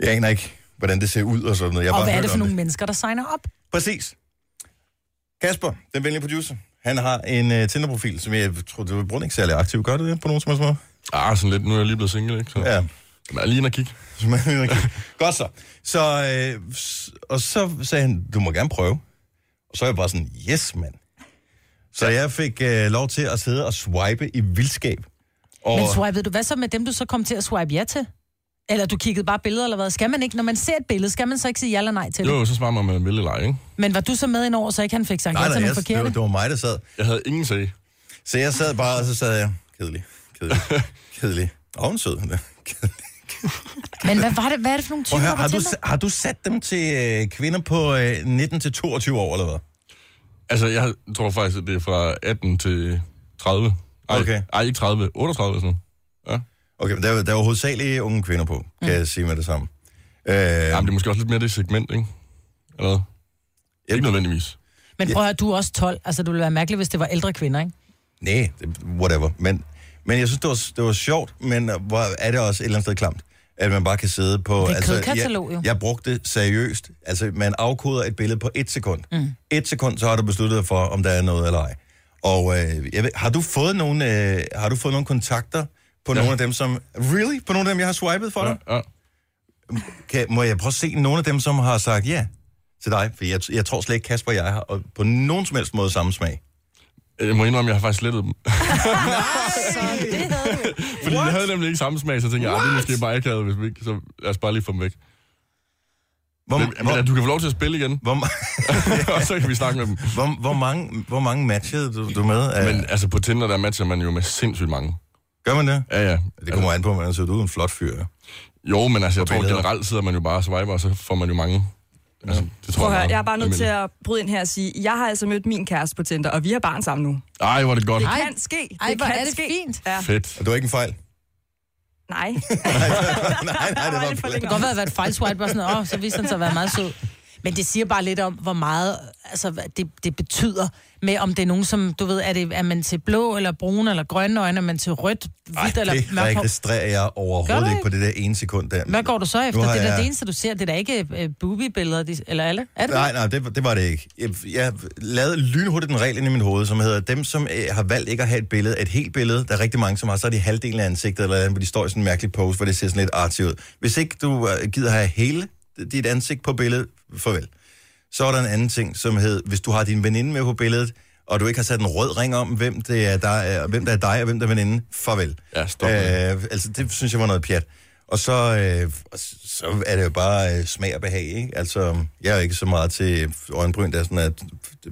jeg aner ikke, hvordan det ser ud og sådan noget. Jeg Jeg har og bare hvad er hørt det for om nogle mennesker, der signer op? Præcis. Kasper, den venlige producer, han har en øh, Tinder-profil, som jeg tror, du bruger den ikke særlig aktiv. Gør du det på nogen som helst måde? Ah, sådan lidt. Nu er jeg lige blevet single, ikke? Så. Ja. Men jeg er lige inde og kigge. Så man er inde og kigge. Godt så. så øh, s- og så sagde han, du må gerne prøve. Og så er jeg bare sådan, yes, mand. Så jeg fik øh, lov til at sidde og swipe i vildskab. Og, Men swipede du, hvad så med dem, du så kom til at swipe ja til? Eller du kiggede bare billeder, eller hvad? Skal man ikke, når man ser et billede, skal man så ikke sige ja eller nej til det? Jo, så svarer man med en vilde leg, ikke? Men var du så med ind over, så ikke han fik sagt nej, ja nej, til nogle jeg, det, var, altså forkerte? det var mig, der sad. Jeg havde ingen sag. Så jeg sad bare, og så sad jeg, kedelig, kedelig, kedelig. Og hun sød, hun er. Men hvad, var det, hvad er det for Prøv nogle typer, at høre, der har, du, Tinder? har du sat dem til øh, kvinder på øh, 19-22 år, eller hvad? Altså, jeg tror faktisk, at det er fra 18 til 30. Ej, Okay. Ej, ikke 30. 38 sådan noget. Ja. Okay, men der, er- der var hovedsageligt unge kvinder på, kan mm. jeg sige med det samme. Øh, Jamen, det er måske også lidt mere det segment, ikke? Eller hvad? Ikke nødvendigvis. Men prøv at høre, du er også 12. Altså, det ville være mærkeligt, hvis det var ældre kvinder, ikke? Nej, det- whatever. Men, men jeg synes, det var, det var sjovt, men øh, hvor er det også et eller andet sted klamt, at man bare kan sidde på... altså, Det er kødkatalog, jeg, jo. jeg brugte det seriøst. Altså, man afkoder et billede på et sekund. Mm. Et sekund, så har du besluttet dig for, om der er noget eller ej. Og øh, jeg ved, har, du fået nogle, øh, har du fået nogle kontakter på ja. nogle af dem, som... Really? På nogle af dem, jeg har swipet for dig? Ja. Kan, må jeg prøve at se nogle af dem, som har sagt ja til dig? For jeg, jeg tror slet ikke, Kasper og jeg har og på nogen som helst måde samme smag. Jeg må indrømme, jeg har faktisk slettet dem. Fordi What? What? de havde nemlig ikke samme smag, så tænkte jeg, "Ah, det er måske bare akavet, hvis vi ikke, så lad os bare lige få dem væk. Hvor, men, hvor, men du kan få lov til at spille igen. Hvor, og så kan vi snakke med dem. Hvor, hvor, mange, hvor mange matchede du, du med? af- Men altså, på Tinder, der matcher man jo med sindssygt mange. Gør man det? Ja, ja. Det kommer an på, man ser ud en flot fyr. Jo, men altså, jeg På tror billeder. generelt sidder man jo bare og swiper, og så får man jo mange. Altså, det tror Prøv at jeg, høre, meget jeg er bare nødt til almindeligt. at bryde ind her og sige, jeg har altså mødt min kæreste på Tinder, og vi har barn sammen nu. Ej, hvor er det godt. Det Ej, kan ske. Det Ej, hvor kan er det ske. fint. Ja. Fedt. Og det var ikke en fejl? Nej. nej, nej, det var Det kan godt være, at det var et fejlswipe og sådan noget. Åh, så viste han sig at være meget sød. Men det siger bare lidt om, hvor meget altså, hvad det, det betyder med, om det er nogen, som, du ved, er, det, er man til blå eller brune eller grønne øjne, er man til rødt, hvidt Ej, eller det mørkt hår? registrerer jeg Gør overhovedet du ikke på det der ene sekund der. Hvad går du så Nu efter? Det har er da jeg- det eneste, du ser. Det er da ikke øh, boobie-billeder, de- eller alle? Er det Nej, det? nej, det, det var det ikke. Jeg, jeg lavede lynhurtigt en regel ind i mit hoved, som hedder, dem som øh, har valgt ikke at have et billede, et helt billede, der er rigtig mange, som har, så er de halvdelen af ansigtet, eller andet, hvor de står i sådan en mærkelig pose, hvor det ser sådan lidt artigt ud. Hvis ikke du øh, gider have hele dit ansigt på billedet, farvel. Så er der en anden ting, som hedder, hvis du har din veninde med på billedet, og du ikke har sat en rød ring om, hvem, det er, der er, hvem der er dig, og hvem der er veninde, farvel. Ja, stop øh, Altså, det synes jeg var noget pjat. Og så, øh, og s- så er det jo bare øh, smag og behag, ikke? Altså, jeg er jo ikke så meget til øjenbryn, der er sådan, at,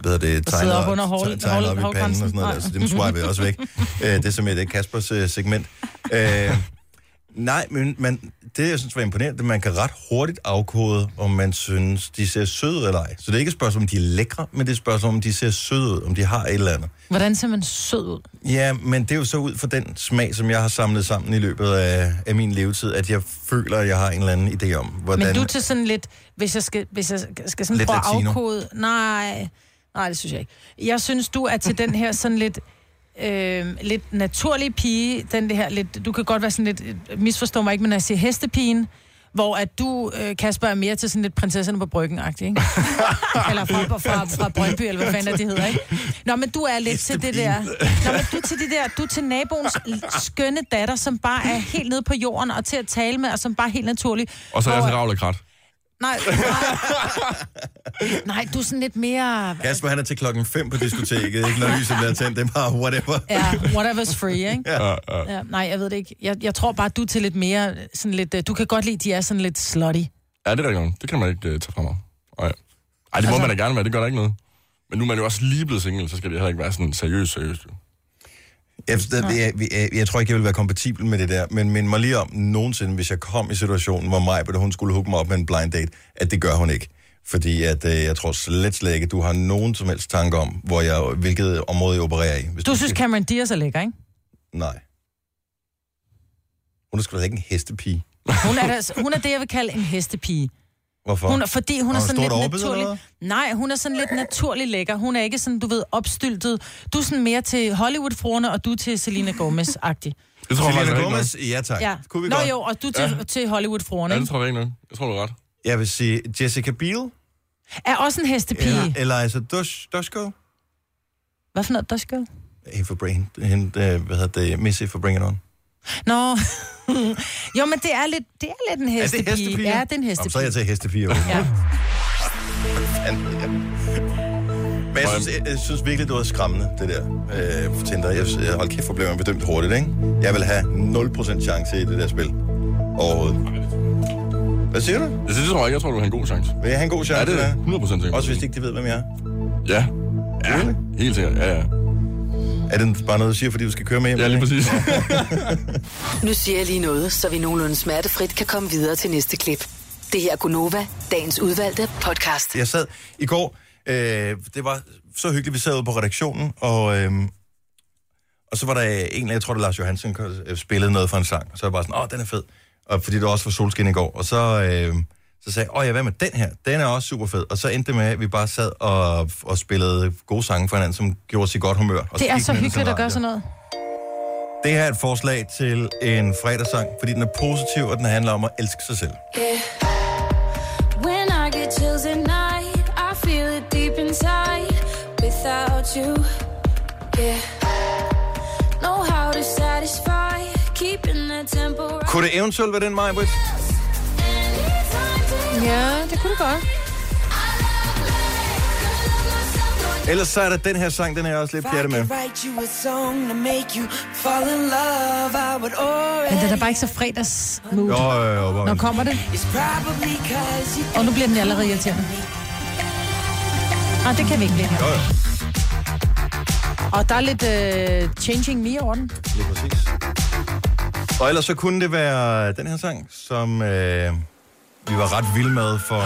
hvad hedder det, sidder tegner, op under hår- te- tegner op i hår- panden og sådan noget, hårgrænsen. der, så Nej. dem swiper jeg også væk. øh, det er som et øh, Kaspers øh, segment. Øh, nej, men man, det, jeg synes var imponerende, det er, at man kan ret hurtigt afkode, om man synes, de ser søde eller ej. Så det er ikke et spørgsmål, om de er lækre, men det er et spørgsmål, om de ser søde ud, om de har et eller andet. Hvordan ser man sød ud? Ja, men det er jo så ud fra den smag, som jeg har samlet sammen i løbet af, af min levetid, at jeg føler, at jeg har en eller anden idé om, hvordan... Hvordan? Men du er til sådan lidt, hvis jeg skal, hvis jeg skal Lidt sådan lidt prøve at latino. afkode... Nej, nej, det synes jeg ikke. Jeg synes, du er til den her sådan lidt, øh, lidt naturlig pige. Den det her lidt, du kan godt være sådan lidt, misforstå mig ikke, men når jeg siger hestepigen, hvor at du, øh, Kasper, er mere til sådan lidt prinsesserne på bryggen ikke? eller fra, fra, fra Brøndby, eller hvad fanden er det hedder, ikke? Nå, men du er lidt til det der... Nå, men du er til det der... Du er til naboens l- skønne datter, som bare er helt nede på jorden og til at tale med, og som bare er helt naturlig. Og så er jeg Hvor- til ravlekrat. Nej, nej. nej, du er sådan lidt mere... Kasper, han er til klokken 5 på diskoteket, ikke? Når lyset bliver tændt, det er bare whatever. Ja, whatever's free, ikke? Ja. Ja, nej, jeg ved det ikke. Jeg, jeg tror bare, du er til lidt mere... Sådan lidt, øh, du kan godt lide, de er sådan lidt slutty. Ja, det er der ikke nogen. Det kan man ikke uh, tage fra mig. Ej, Ej det altså... må Altså- man da gerne være. Det gør der ikke noget. Men nu er man jo også lige blevet single, så skal det heller ikke være sådan seriøst, seriøst. jo. Jeg, jeg, jeg, jeg, jeg tror ikke, jeg vil være kompatibel med det der, men mind mig lige om nogensinde, hvis jeg kom i situationen, hvor Majbert, hun skulle hugge mig op med en blind date, at det gør hun ikke. Fordi at, øh, jeg tror slet, slet ikke, at du har nogen som helst tanke om, hvor jeg, hvilket område jeg opererer i. Hvis Du synes, Cameron Diaz er lækker, ikke? Nej. Hun er sgu da ikke en hestepige. Hun er, der, hun er det, jeg vil kalde en hestepige. Hvorfor? Hun er, fordi hun er Har sådan stort lidt overbid eller naturlig. Nej, hun er sådan lidt naturlig lækker. Hun er ikke sådan, du ved, opstyltet. Du er sådan mere til Hollywood-fruerne, og du er til Selena Gomez-agtig. Det tror jeg faktisk Selena er Gomez, ja tak. Ja. Kunne vi Nå godt? jo, og du er til, ja. til Hollywood-fruerne, Ja, ikke? det tror jeg ikke noget. Jeg tror, du er ret. Jeg vil sige Jessica Biel, Er også en hestepige. eller Eliza Dush, Dushko. Hvad for noget, der skal? Hey, for bring, hende, øh, hvad hedder det, Missy for Bring It On. Nå. jo, men det er lidt, det er lidt en hestepige. Ja, det er en Jamen, hestepige. så er jeg til hestepige. Ja. Men jeg synes, jeg, jeg synes virkelig, det var skræmmende, det der øh, for Tinder. Jeg, jeg, hold kæft, hvor blev man bedømt hurtigt, ikke? Jeg vil have 0% chance i det der spil. Overhovedet. Hvad siger du? Jeg synes, Altså, det tror jeg ikke. Jeg tror, du har en god chance. Vil jeg have en god chance? Ja, det er der? 100 procent sikkert. Også hvis de ikke de ved, hvem jeg er. Ja. Ja, helt sikkert. Ja, ja. Er det bare noget, du siger, fordi du skal køre med hjem? Ja, lige præcis. Nu siger jeg lige noget, så vi nogenlunde smertefrit kan komme videre til næste klip. Det her er Gunova, dagens udvalgte podcast. Jeg sad i går, øh, det var så hyggeligt, vi sad ude på redaktionen, og, øh, og så var der en, eller jeg tror det var Lars Johansen, der øh, spillede noget for en sang, og så var jeg bare sådan, åh, den er fed, og fordi det også var solskin i går, og så, øh, så sagde jeg, åh ja, hvad med den her? Den er også super fed, og så endte det med, at vi bare sad og, og spillede gode sange for hinanden, som gjorde os i godt humør. Og Det er gik så den ind hyggeligt til at gøre radio. sådan noget. Det her er et forslag til en fredagssang, fordi den er positiv, og den handler om at elske sig selv. When I get chills at night, I feel it deep inside without you. Yeah. Know how to satisfy, keeping that tempo right. Kunne det eventuelt være den, Majbrit? Ja, Uh, det kunne det godt. Ellers så er der den her sang, den er jeg også lidt pjattet med. Men det er da bare ikke så fredags nu. Jo, jo, jo, jo. Når kommer det? Og nu bliver den allerede irriterende. Nej, det kan vi ikke blive her. Jo, jo. Og der er lidt uh, changing me over den. Lige præcis. Og ellers så kunne det være den her sang, som øh, vi var ret vilde med for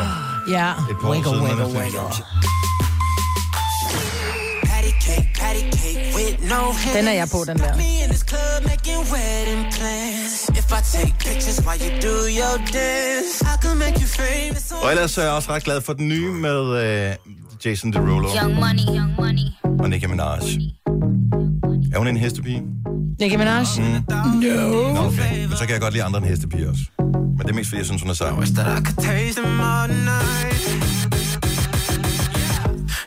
Ja. et par år Wiggle, siden. wiggle, eller sådan. Den er jeg på, den der. Me in this club making wedding plans. If if I take pictures while you do your dance. I can make you famous. Og ellers er jeg også ret glad for den nye med øh, Jason Derulo Young money, young money. og Nicki Minaj. Er hun en hestepige? Nicki Minaj? Mhm. No. Nå, okay. Men så kan jeg godt lide andre end hestepiger også. Men det er mest fordi, jeg synes, hun er sej. I could taste them all night.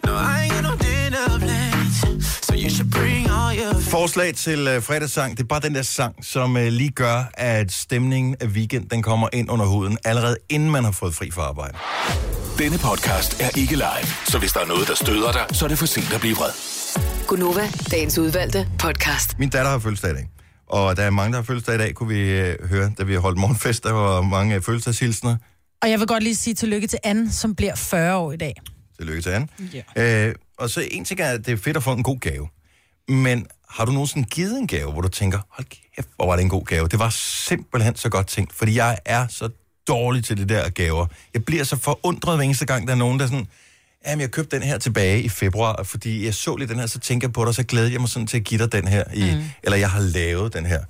No, I ain't got no dinner plans, so you should bring all your. Forslag til øh, fredagssang, det er bare den der sang, som øh, lige gør, at stemningen af weekend, den kommer ind under huden, allerede inden man har fået fri fra arbejde. Denne podcast er ikke live, så hvis der er noget, der støder dig, så er det for sent at blive vred. Gunova, dagens udvalgte podcast. Min datter har fødselsdag i dag. Og der er mange, der har fødselsdag i dag, kunne vi øh, høre, da vi holdt morgenfest. Der var mange øh, fødselsdagshilsener. Og jeg vil godt lige sige tillykke til Anne, som bliver 40 år i dag. Tillykke til Anne. Yeah. Øh, og så en ting er, at det er fedt at få en god gave. Men har du nogensinde givet en gave, hvor du tænker, hold kæft, hvor var det en god gave? Det var simpelthen så godt tænkt, fordi jeg er så dårlig til det der gaver. Jeg bliver så forundret hver eneste gang, der er nogen, der er sådan, jamen jeg købte den her tilbage i februar, fordi jeg så lige den her, så tænker jeg på dig, så glæder jeg mig sådan til at give dig den her, i, mm. eller jeg har lavet den her.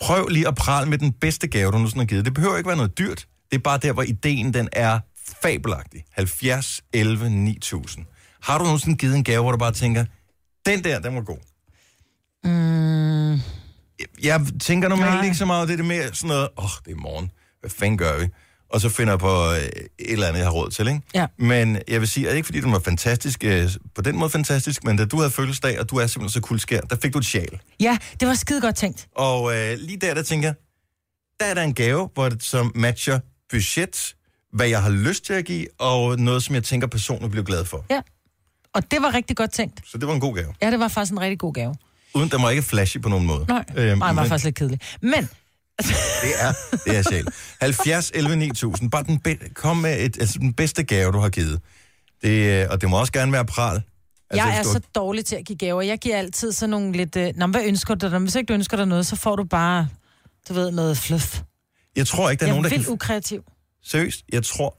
Prøv lige at prale med den bedste gave, du nogensinde har givet. Det behøver ikke være noget dyrt, det er bare der, hvor ideen den er fabelagtig. 70, 11, 9000. Har du nogensinde givet en gave, hvor du bare tænker, den der, den var god? Mm. jeg tænker normalt Nej. Nej. ikke så meget over det, det er mere sådan noget, åh, oh, det er morgen, hvad fanden gør vi? Og så finder jeg på øh, et eller andet, jeg har råd til, ikke? Ja. Men jeg vil sige, at ikke fordi den var fantastisk, øh, på den måde fantastisk, men da du havde fødselsdag, og du er simpelthen så kuldskær, der fik du et sjal. Ja, det var skide godt tænkt. Og øh, lige der, der tænker jeg, der er der en gave, hvor det, som matcher budget, hvad jeg har lyst til at give, og noget, som jeg tænker, personen bliver glad for. Ja. Og det var rigtig godt tænkt. Så det var en god gave. Ja, det var faktisk en rigtig god gave. Uden, den var ikke flashy på nogen måde. Nej, øhm, Nej det var men- faktisk lidt kedeligt. Men Det er, det er sjæl. 70, 11, 9000. Bare den be- kom med et, altså den bedste gave, du har givet. Det, øh, og det må også gerne være pral. Altså, altså, jeg er hvis du- så dårlig til at give gaver. Jeg giver altid sådan nogle lidt... Øh, Nå, men hvad ønsker du dig? Hvis ikke du ønsker dig noget, så får du bare, du ved, noget fluff. Jeg tror ikke, der er jeg nogen, der er vildt kan... ukreativ. Seriøst, jeg tror,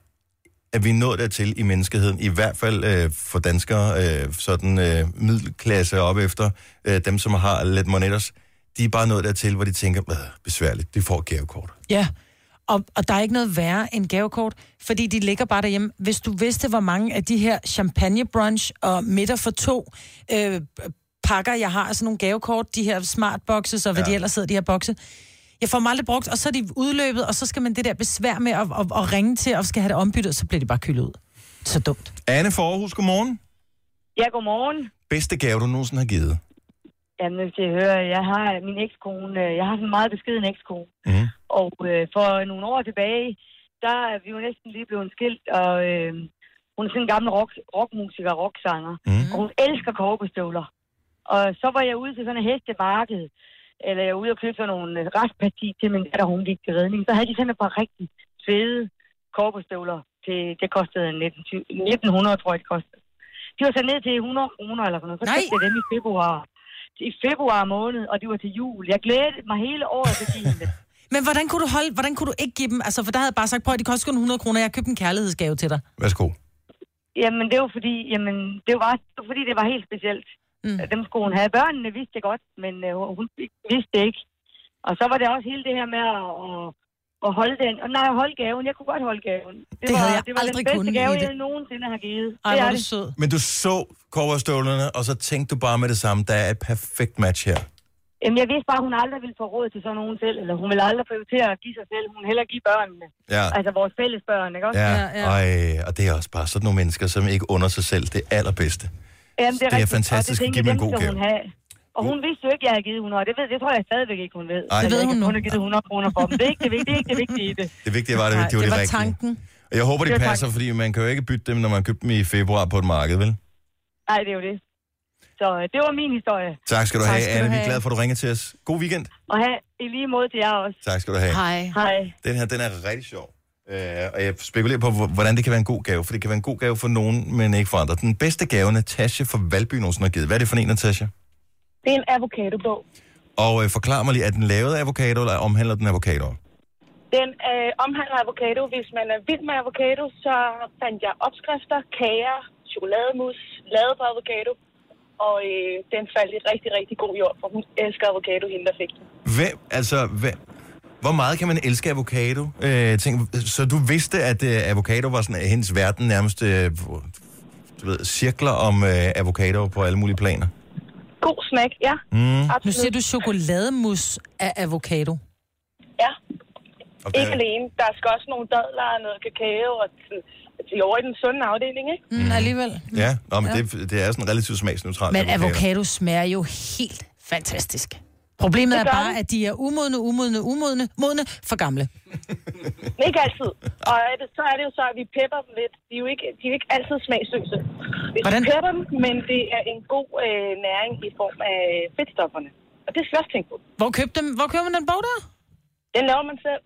at vi er nået dertil i menneskeheden, i hvert fald øh, for danskere, øh, sådan øh, middelklasse op efter, øh, dem som har lidt monetters, de er bare nået dertil, hvor de tænker, "Åh, besværligt, de får et gavekort. Ja, og, og der er ikke noget værre end gavekort, fordi de ligger bare derhjemme. Hvis du vidste, hvor mange af de her champagne brunch og middag for to øh, pakker, jeg har, sådan nogle gavekort, de her smart boxes og hvad ja. de ellers hedder, de her bokse, jeg får dem aldrig brugt, og så er de udløbet, og så skal man det der besvær med at, at, at ringe til, og skal have det ombyttet, og så bliver det bare kølet ud. Så dumt. Anne for Aarhus, godmorgen. Ja, godmorgen. Bedste gave, du nogensinde har givet. Jamen, hvis jeg hører, jeg har min ekskone, øh, jeg har sådan en meget beskeden ekskone. Mm. Og øh, for nogle år tilbage, der er vi jo næsten lige blevet skilt, og øh, hun er sådan en gammel rock, rockmusiker, rocksanger. Mm. Og hun elsker korkestøvler. Og så var jeg ude til sådan et hestemarked, eller jeg var ude og købe sådan nogle øh, restparti til min datter, hun gik til redning. Så havde de sådan et par rigtig fede korkestøvler. Til, det kostede 19, 1900, tror jeg, det kostede. De var så ned til 100 kroner eller sådan noget. Så Nej. købte jeg dem i februar. I februar måned, og det var til jul. Jeg glædede mig hele året til at give hende det. Men hvordan kunne du holde, hvordan kunne du ikke give dem, altså for der havde jeg bare sagt, prøv at de koster kun 100 kroner, jeg har købt en kærlighedsgave til dig. Værsgo. Jamen, det var fordi, jamen, det var, det var, fordi det var helt specielt. Mm. Dem skulle hun have. Børnene vidste det godt, men øh, hun vidste det ikke. Og så var det også hele det her med at, at, at holde den. Og nej, holde gaven. Jeg kunne godt holde gaven. Det, Det var, havde jeg det var aldrig den bedste kunnet gave, i det. jeg nogensinde har givet. Ej, hvor er det. du sød. Men du så coverstøvlerne, og så tænkte du bare med det samme, der er et perfekt match her. Jamen, jeg vidste bare, at hun aldrig ville få råd til sådan nogen selv, eller hun ville aldrig prioritere at give sig selv. Hun ville hellere give børnene. Ja. Altså vores fælles børn, ikke også? Ja, Ej, og det er også bare sådan nogle mennesker, som ikke under sig selv det allerbedste. Jamen, det er rigtigt, og fantastisk at tænkte give jeg, dem en dem god skal gave. Hun have. Og hun vidste jo ikke, at jeg havde givet 100. Det, ved, det tror jeg stadigvæk ikke, hun ved. Ej. Altså, Det ved jeg hun ikke, nu. Hun har givet 100 kroner for dem. Det er ikke det, vigtige- det, er ikke det vigtige i det. Det vigtige var, at det, Nej, det var det det, var rigtige. tanken. Og jeg håber, Det det var passer, fordi man kan jo ikke bytte dem, når man købte dem i februar på et marked, vel? Nej, det er jo det. Så øh, det var min historie. Tak skal du Tak have, skal du Anne. Vi er have. glade for, at du ringer til os. God weekend. Og have i lige måde til jer også. Tak skal du have. Hej. Den her, den er rigtig sjov. Uh, og jeg spekulerer på, hvor- hvordan det kan være en god gave. For det kan være en god gave for nogen, men ikke for andre. Den bedste gave, Natasha fra Valby nogensinde har givet. Hvad er det for en, Natasha? Det er en avocadobog. Og uh, forklar mig lige, er den lavet af avocado, eller omhandler den avocado? Den øh, omhandler avocado. Hvis man er vild med avocado, så fandt jeg opskrifter, kager, chokolademus, lavet på avocado. Og øh, den faldt i rigtig, rigtig god jord, for hun elsker avocado, hende der fik den. Hvem, altså, hvem, Hvor meget kan man elske avocado? Øh, tænk, så du vidste, at øh, avocado var sådan, at hendes verden nærmest øh, du ved, cirkler om øh, avocado på alle mulige planer. God snack, ja. Mm. Nu siger du chokolademus af avocado. Mm, Ja. Okay. Ikke alene. Der skal også nogle dadler og noget kakao og sådan, til over i den sunde afdeling, ikke? Mm, alligevel. øh, Ja, Nå, men Det, det er sådan relativt smagsneutralt. Men avocado smager jo helt fantastisk. Problemet Det er gør bare, det. at de er umodne, umodne, umodne, modne for gamle. Men ikke altid. Og er det, så er det jo så, at vi pepper dem lidt. De er jo ikke, de er jo ikke altid smagsløse. Vi Hvordan- pepper dem, men det er en god øh, næring i form af fedtstofferne. Og det skal vi også tænke på. Hvor købte dem? Hvor køber man den bog der? Den laver man selv.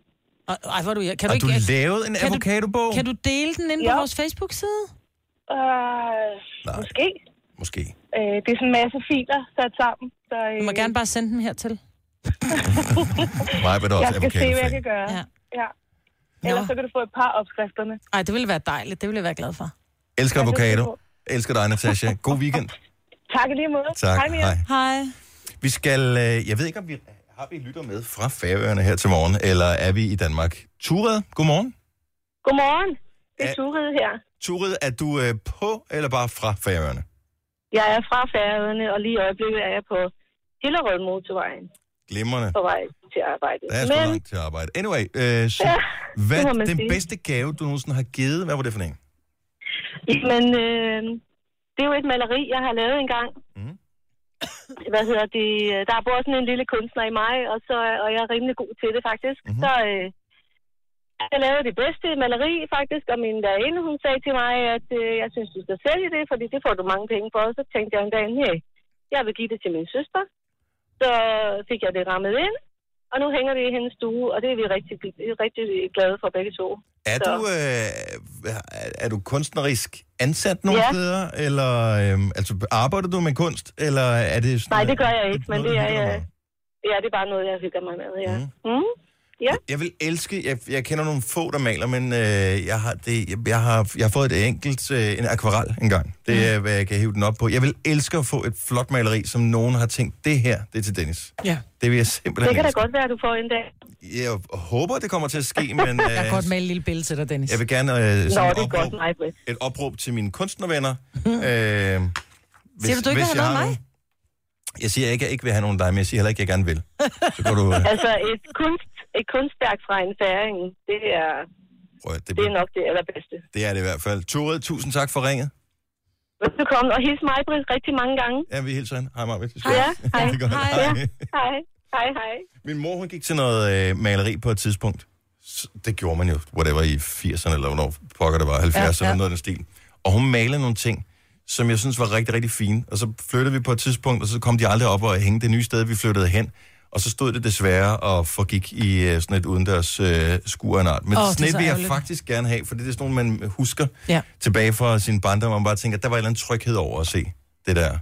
Ej, hvor er du... Kan du Har ikke, du lavet en kan avocadobog? Du, kan du dele den inde på vores Facebook-side? Øh, måske. Måske. Øh, det er sådan en masse filer sat sammen. Så, øh, Du må gerne bare sende den hertil. Mig vil også jeg skal se, hvad avocado jeg kan gøre. Ja. ja. Ellers så kan du få et par opskrifterne. Ej, det ville være dejligt. Det ville jeg være glad for. Elsker Jeg kan se avocado. på. Elsker dig, Natasha. God weekend. Tak i lige måde. Tak. Hej, Mia. Hej. Hej. Vi skal... Øh, jeg ved ikke, om vi har vi lytter med fra Færøerne her til morgen, eller er vi i Danmark? Tured, godmorgen. Godmorgen. Det er Ja. Turid her. Tured, er du øh, på eller bare fra Færøerne? Jeg er fra Færøerne, og lige i øjeblikket er jeg på Hillerød motorvejen Glimrende. på vej til arbejde. Der er sgu Men langt til arbejde. Anyway, øh, så, Ja, ja, hvad det må man den sige. bedste gave, du nogensinde har givet, hvad var det for en? men, øh, det er jo et maleri, jeg har lavet engang. Mm. Hvad hedder det? Der bor sådan en lille kunstner i mig, og, så, og jeg er rimelig god til det faktisk. Mm-hmm. Så øh, jeg lavede det bedste maleri faktisk, og min derinde, hun sagde til mig, at øh, jeg synes, du skal sælge det, fordi det får du mange penge for. Og så tænkte jeg en dag, hey, jeg vil give det til min søster. Så fik jeg det rammet ind, og nu hænger det i hendes stue, og det er vi rigtig, rigtig glade for begge to. Er Så- du, øh, er- er du kunstnerisk ansat nogle Ja. steder? Eller øh, altså, arbejder du med kunst? Eller er det sådan, Nej, det gør jeg ikke, men noget, det du er, hygger dig jeg, ja, det er bare noget, jeg hygger mig med. Ja. Mm. Mm. Ja. Jeg vil elske, jeg, jeg kender nogle få, der maler, men øh, jeg, har det, jeg, jeg, har, jeg har fået et enkelt, øh, en akvarel engang. Mhm. Det er, hvad jeg kan hive den op på. Jeg vil elske at få et flot maleri, som nogen har tænkt, det her, det er til Dennis. Ja. Det vil jeg simpelthen Det kan da elske. godt være, du får en dag. Jeg håber, det kommer til at ske, men Jeg kan øh, godt male et lille billede til dig, Dennis. jeg vil gerne øh, Nå, sende et det er godt, Mhm. opråb, mig, Britt. et opråb til mine kunstnervenner. Øh, hvis, Siger du, du ikke vil have jeg noget af har mig? nogen. Jeg siger ikke, at jeg ikke vil have nogen af dig, men jeg siger heller ikke, at jeg gerne vil. Så går du... Øh, Altså, et, kunst, et kunstværk fra en færing, det er, prøv, at- det, det er nok det allerbedste. det er det i hvert fald. Tore, tusind tak for ringet. Velkommen, og hils mig, Britt, rigtig mange gange. Ja, vi hilser hende. Hej, Marvitt. Ja, hej. Det er godt. Hej. Ja, Hej. hej. Hej, hej. Min mor, hun gik til noget øh, maleri på et tidspunkt. S- Det gjorde man jo, whatever, i 80'erne, eller hvornår pokker det var, 70'erne, ja, ja. ja. noget af den stil. Og hun malede nogle ting, som jeg synes var rigtig, rigtig fine. Og så flyttede vi på et tidspunkt, og så kom de aldrig op og hænge det nye sted, vi flyttede hen. Og så stod det desværre og forgik i øh, sådan et udendørs øh, skur af en art. Men Åh, oh, det er sådan et så vil jeg ærgerligt. faktisk gerne have, for det er sådan nogle, man husker Ja. tilbage fra sin barndom, og man bare tænker, at der var en eller anden tryghed over at se det der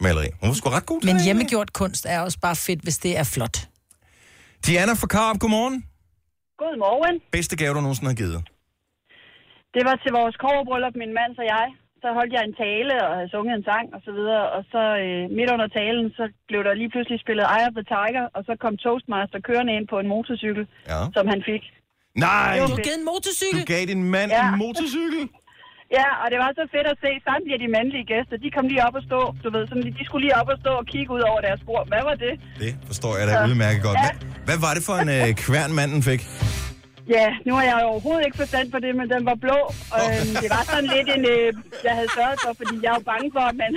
maleri. Hun var sgu ret god til Men det. hjemmegjort kunst er også bare fedt, hvis det er flot. Diana fra Karup, godmorgen. Godmorgen. Bedste gave, du nogensinde har givet. Det var til vores koverbryllup, min mand og jeg. Så holdt jeg en tale og havde sunget en sang og så videre. Og så øh, midt under talen, så blev der lige pludselig spillet Eye of the Tiger. Og så kom Toastmaster kørende ind på en motorcykel, Ja. som han fik. Nej! Det var Du har fedt. givet en motorcykel? Du gav din mand ja. en motorcykel? Ja, og det var så fedt at se. Samtlige af de mandlige gæster, de kom lige op og stå. Du ved, sådan, de skulle lige op og stå og kigge ud over deres bord. Hvad var det? Det forstår jeg da ja. udmærket godt. Hvad, hvad var det for en øh, kværn, manden fik? Ja, nu har jeg jo overhovedet ikke forstand på det, men den var blå. Og, øhm, det var sådan lidt en, øh, jeg havde sørget for, fordi jeg er jo bange for, at man...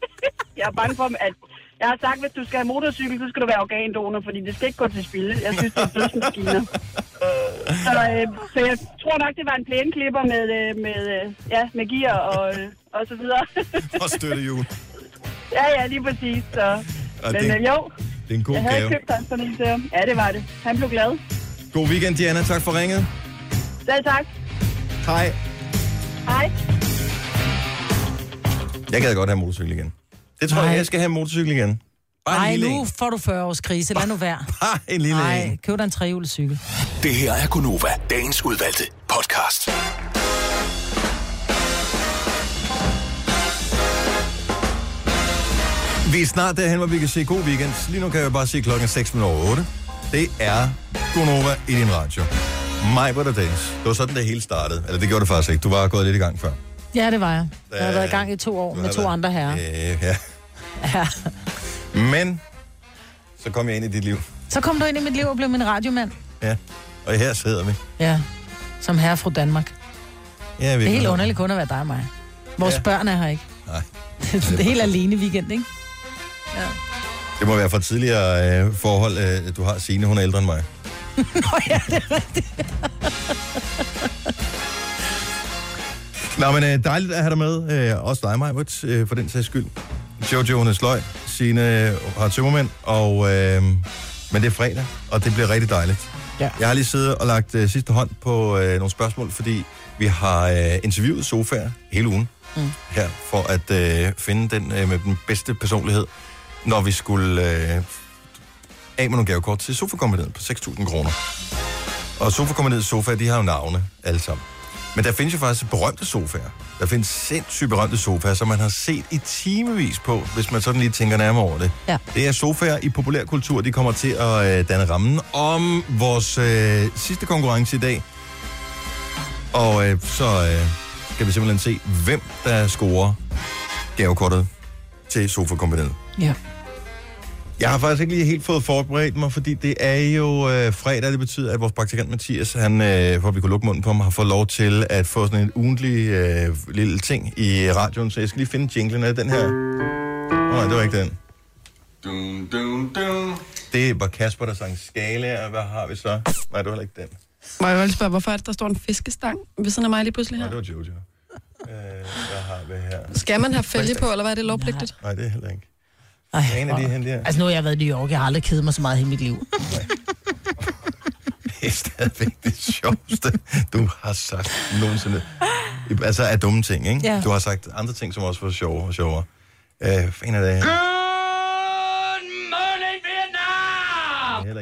jeg er bange for, at... Jeg har sagt, hvis du skal have motorcykel, så skal du være organdonor, fordi det skal ikke gå til spilde. Jeg synes, det er dødsmaskiner. Så, øh, så jeg tror nok, det var en plæneklipper med, øh, med, øh, ja, med gear og, øh, og så videre. Og støttehjul. ja, ja, lige præcis. Så. Og Men det- øh, jo, Det er en god jeg havde gave. købt han sådan en til ham. Ja, det var det. Han blev glad. God weekend, Diana. Tak for ringet. Selv tak. Hej. Hej. Jeg gad godt have en motorcykel igen. Det tror Nej. jeg, jeg skal have en motorcykel igen. Bare en Nej, lille nu en. får du 40 års krise. Lad nu være. Bare en lille Nej, en. køb dig en trehjulet cykel. Det her er Gunova, dagens udvalgte podcast. Vi er snart derhen, hvor vi kan sige god weekend. Lige nu kan jeg bare sige klokken 6 minutter over 8. Det er Gonova i din radio. Mig var der dans. Det var sådan, det hele startede. Eller det gjorde det faktisk ikke. Du var gået lidt i gang før. Ja, det var jeg. Jeg har Øh, været i gang i to år du med har to været- andre herrer. Øh, ja. Ja. Men så kom jeg ind i dit liv. Så kom du ind i mit liv og blev min radiomand. Ja. Og her sidder vi. Ja. Som herre fra Danmark. Ja, vi Det er helt glade. underligt kun at være dig og mig. Vores ja. børn er her ikke. Nej. det er helt alene weekend, ikke? Det må være fra tidligere øh, forhold, øh, du har Signe, hun er ældre end mig. Nå ja, det er rigtigt. Nå, men øh, dejligt at have dig med. Øh, også dig, Majbert, øh, for den sags skyld. Jojo, hun er sløj. Signe øh, har tømmermænd. Og, øh, men det er fredag, og det bliver rigtig dejligt. Ja. Jeg har lige siddet og lagt øh, sidste hånd på øh, nogle spørgsmål, fordi vi har øh, interviewet sofaer hele ugen Mm. her, for at øh, finde den øh, med den bedste personlighed, når vi skulle øh, af med nogle gavekort til sofakombineret på 6.000 kroner. Og sofakombineret sofa, de har jo navne alle sammen. Men der findes jo faktisk berømte sofaer. Der findes sindssygt berømte sofaer, som man har set i timevis på, hvis man sådan lige tænker nærmere over det. Ja. Det er sofaer i populærkultur, de kommer til at øh, danne rammen om vores øh, sidste konkurrence i dag. Og øh, så øh, skal vi simpelthen se, hvem der scorer gavekortet til sofakombineret. Ja. Jeg har faktisk ikke lige helt fået forberedt mig, fordi det er jo øh, fredag, det betyder, at vores praktikant Mathias, han, øh, for at vi kunne lukke munden på ham, har fået lov til at få sådan en ugentlig øh, lille ting i radioen, så jeg skal lige finde jinglen af den her. Åh, oh, nej, det var ikke den. Dum, dum, dum. Det var Kasper, der sang skala, og hvad har vi så? Nej, det var heller ikke den. Må jeg jo lige spørge, hvorfor er det, der står en fiskestang ved siden af mig lige pludselig Nej, her? det var Jojo. Øh, hvad har vi her? Skal man have fælge på, eller hvad er det lovpligtigt? Nej, det er heller ikke. Ej, en af de her, der. Altså nu har jeg været i New York, jeg har aldrig kedet mig så meget i hele mit liv. Det er stadigvæk det sjoveste, du har sagt nogensinde. Altså af dumme ting, ikke? Ja. Du har sagt andre ting, som også var sjove og sjovere. Øh, for en af dagene.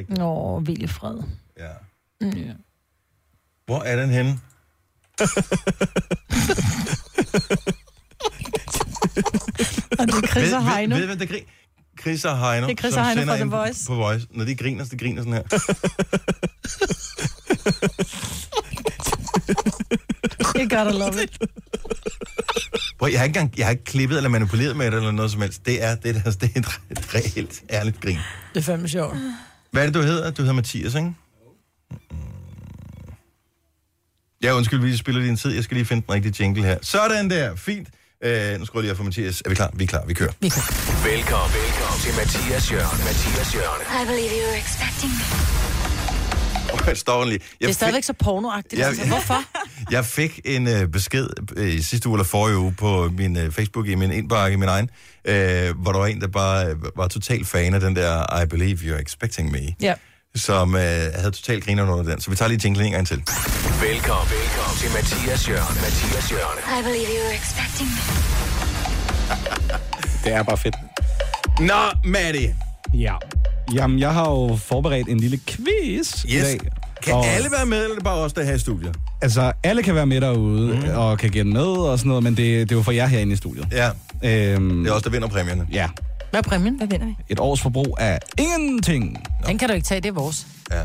Nå, Mm. vilde fred. Ja. Ja. Hvor er den henne? Og det er Chris og Heino. Ved, ved, ved, det er Gri- Chris og Heino, Det er Chris som og Heino sender fra The ind på- Voice. På Voice. Når de griner, så de griner sådan her. You gotta love it. Prøv, jeg har ikke engang jeg har ikke klippet eller manipuleret med det eller noget som helst. Det er, det er, det er et, et reelt, ærligt grin. Det er fandme sjovt. Hvad er det, du hedder? Du hedder Mathias, ikke? Mm. Ja, undskyld, vi spiller din tid. Jeg skal lige finde den rigtige jingle her. Sådan der, fint. Øh, nu skruer jeg lige af for Mathias. Er vi klar? Vi er klar, vi kører. Vi Velkommen, velkommen til Mathias Jørgen. Mathias Jørgen. I believe you were expecting me. kører. Står den lige. Det er Jeg, stadigvæk så pornoagtigt. Ja, Altså. ja. Hvorfor? fik, jeg fik en øh, besked øh, i sidste uge eller forrige uge på min øh, Facebook, i min indbakke, i min egen, øh, hvor der var en, der bare øh, var total fan af den der I Believe You're Expecting Me, Ja. som øh, havde total griner under den. Så vi tager lige jinglen en gang til. Velkommen, velkommen til Mathias Jørgen. Mathias Jørgen. I believe you were expecting me. Det er bare fedt. Nå, Maddie. Ja. Jamen, jeg har jo forberedt en lille quiz i Yes. dag. Kan alle være med, eller er det bare os, der er her i studiet? Altså, alle kan være med derude mm. og kan gætte med og sådan noget, men det, det er jo for jer herinde i studiet. Ja. Øhm, Det er også der vinder præmierne. Ja. Hvad er præmien? Hvad vinder vi? Et års forbrug af ingenting. Den kan du ikke tage, det er vores. Ja.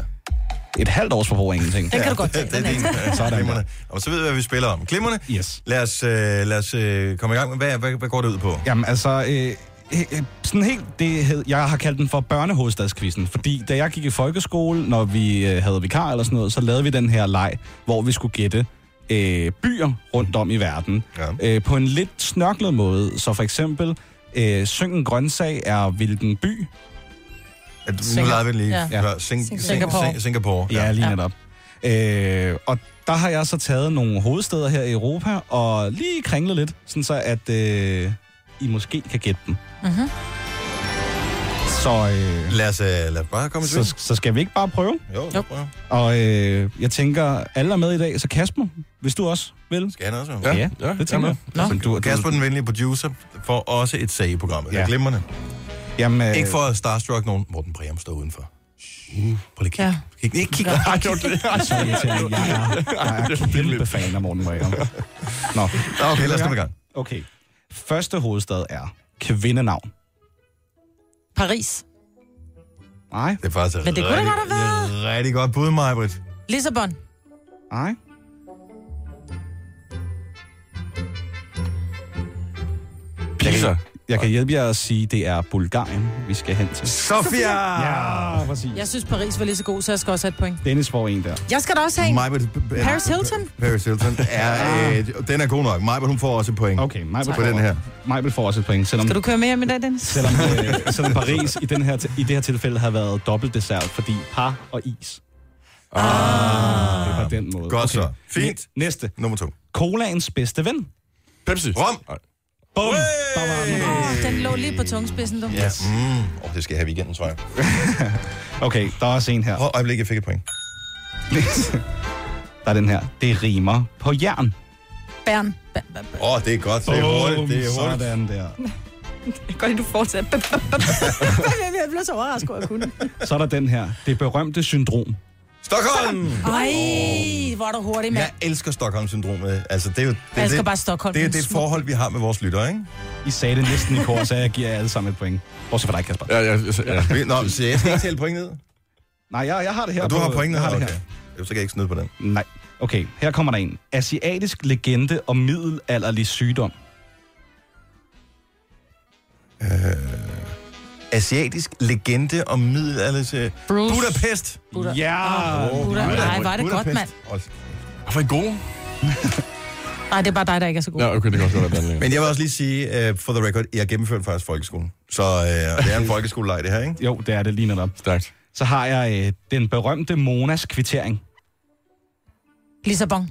Et halvt års forbrug af ingenting. Den kan du godt tage, Det, det den er er din, ikke- ja, Sådan glimrende. Og så ved vi, hvad vi spiller om. Glimmerne? Yes. Lad os, øh, lad os øh, komme i gang med, hvad, hvad, hvad går det ud på? Jamen altså, øh, øh, sådan helt, det hed, jeg har kaldt den for børnehovedstadskvisten, fordi da jeg gik i folkeskole, når vi øh, havde vikar eller sådan noget, så lavede vi den her leg, hvor vi skulle gætte øh, byer rundt om i verden. Ja. Øh, på en lidt snørklet måde, så for eksempel, øh, Syng en grøntsag er hvilken by? At, nu leger vi den lige. Ja. Sing- Sing- Singapore. Singapore, Ja, ja. ja lige Ja. netop. Øh, og der har jeg så taget nogle hovedsteder her i Europa, og lige kringlet lidt, sådan så at øh, I måske kan gætte dem. Mm-hmm. Så, øh, lad, os, øh, lad os bare komme i så, sving. så skal vi ikke bare prøve? Jo, jo. prøv. Og øh, jeg tænker, alle er med i dag, så Kasper, hvis du også vil. Skal han også Ja, ja, ja det tænker jeg. Nå. Så Du, du, Kasper, den venlige producer, får også et sag i programmet. Ja. Glimrende. Jamen, øh... Ikke for at starstruck nogen. Morten Breum står udenfor. Uh, prøv lige at kigge. Ja. Ikke kigge. Ej, det var det. Ej, sorry, jeg tænker, jeg er- jeg er kæmpe fan af Morten Breum. Nå, okay, lad os komme i gang. Okay. Første hovedstad er kvindenavn. Paris. Nej. Det er faktisk et Men det kunne da rigtig- godt have Rigtig godt bud, Majbrit. Lissabon. Nej. Pisa. Jeg kan hjælpe jer at sige, at det er Bulgarien, vi skal hen til. Sofia! Ja, præcis. Jeg synes, Paris var lige så god, så jeg skal også have et point. Dennis får en der. Jeg skal da også have en. Majbrit, b- b- Paris Hilton? Paris Hilton er, øh, den er god nok. Majbrit, hun får også et point. Okay, Majbrit på får- den her. Majbrit får også et point, selvom, Skal du køre med hjem i dag, Dennis? selvom, øh, selvom Paris i, den her, i det her tilfælde har været dobbelt dessert, fordi par og is. Ah. Det var den måde. Godt så. Fint. Næste. Nummer to. Colaens bedste ven. Pepsi. Rom. Bum. Der var den. Åh, den lå lige på tungspidsen, du. Ja. Mm. Oh, det skal jeg have i weekenden, tror jeg. Okay, der er også en her. Prøv øjeblik, jeg fik et point. der er den her. Det rimer på jern. Bern. Åh, oh, det er godt. Det er hurtigt. Det er hurtigt. Sådan der. Godt, at du fortsætter. Jeg blev så overrasket, at jeg kunne. Så er der den her. Det berømte syndrom. Stockholm! Ej, hvor er du hurtig, mand. Jeg elsker Stockholm-syndromet. Altså, det er jo, det, Jeg elsker det, bare Stockholm. Det er Det er det en forhold, vi har med vores lytter, ikke? I sagde det næsten i kor, så jeg giver jer alle sammen et point. Bortset fra dig, Kasper. Ja, ja, ja. ja. Vi- Nå, så jeg skal ikke tælle point ned. Nej, jeg, jeg har det her. Og du har på- point ned. jeg har det Okay. her. Så kan jeg ikke snyde på den. Nej. Okay, her kommer der en. Asiatisk legende om middelalderlig sygdom. Asiatisk legende om middelalderse... Bruce. Budapest! Buddha. Ja! Åh, Buddha. Nej, var det godt, Budapest. mand. Hvorfor er I gode? Nej, det er bare dig, der ikke er så god. Ja, okay, det kan også godt være den anden. Men jeg vil også lige sige, uh, for the record, jeg gennemførte faktisk folkeskolen. Så uh, det er en folkeskoleleg, det her, ikke? Jo, det er det lige netop. Stærkt. Så har jeg øh, den berømte Monas kvittering. Lissabon.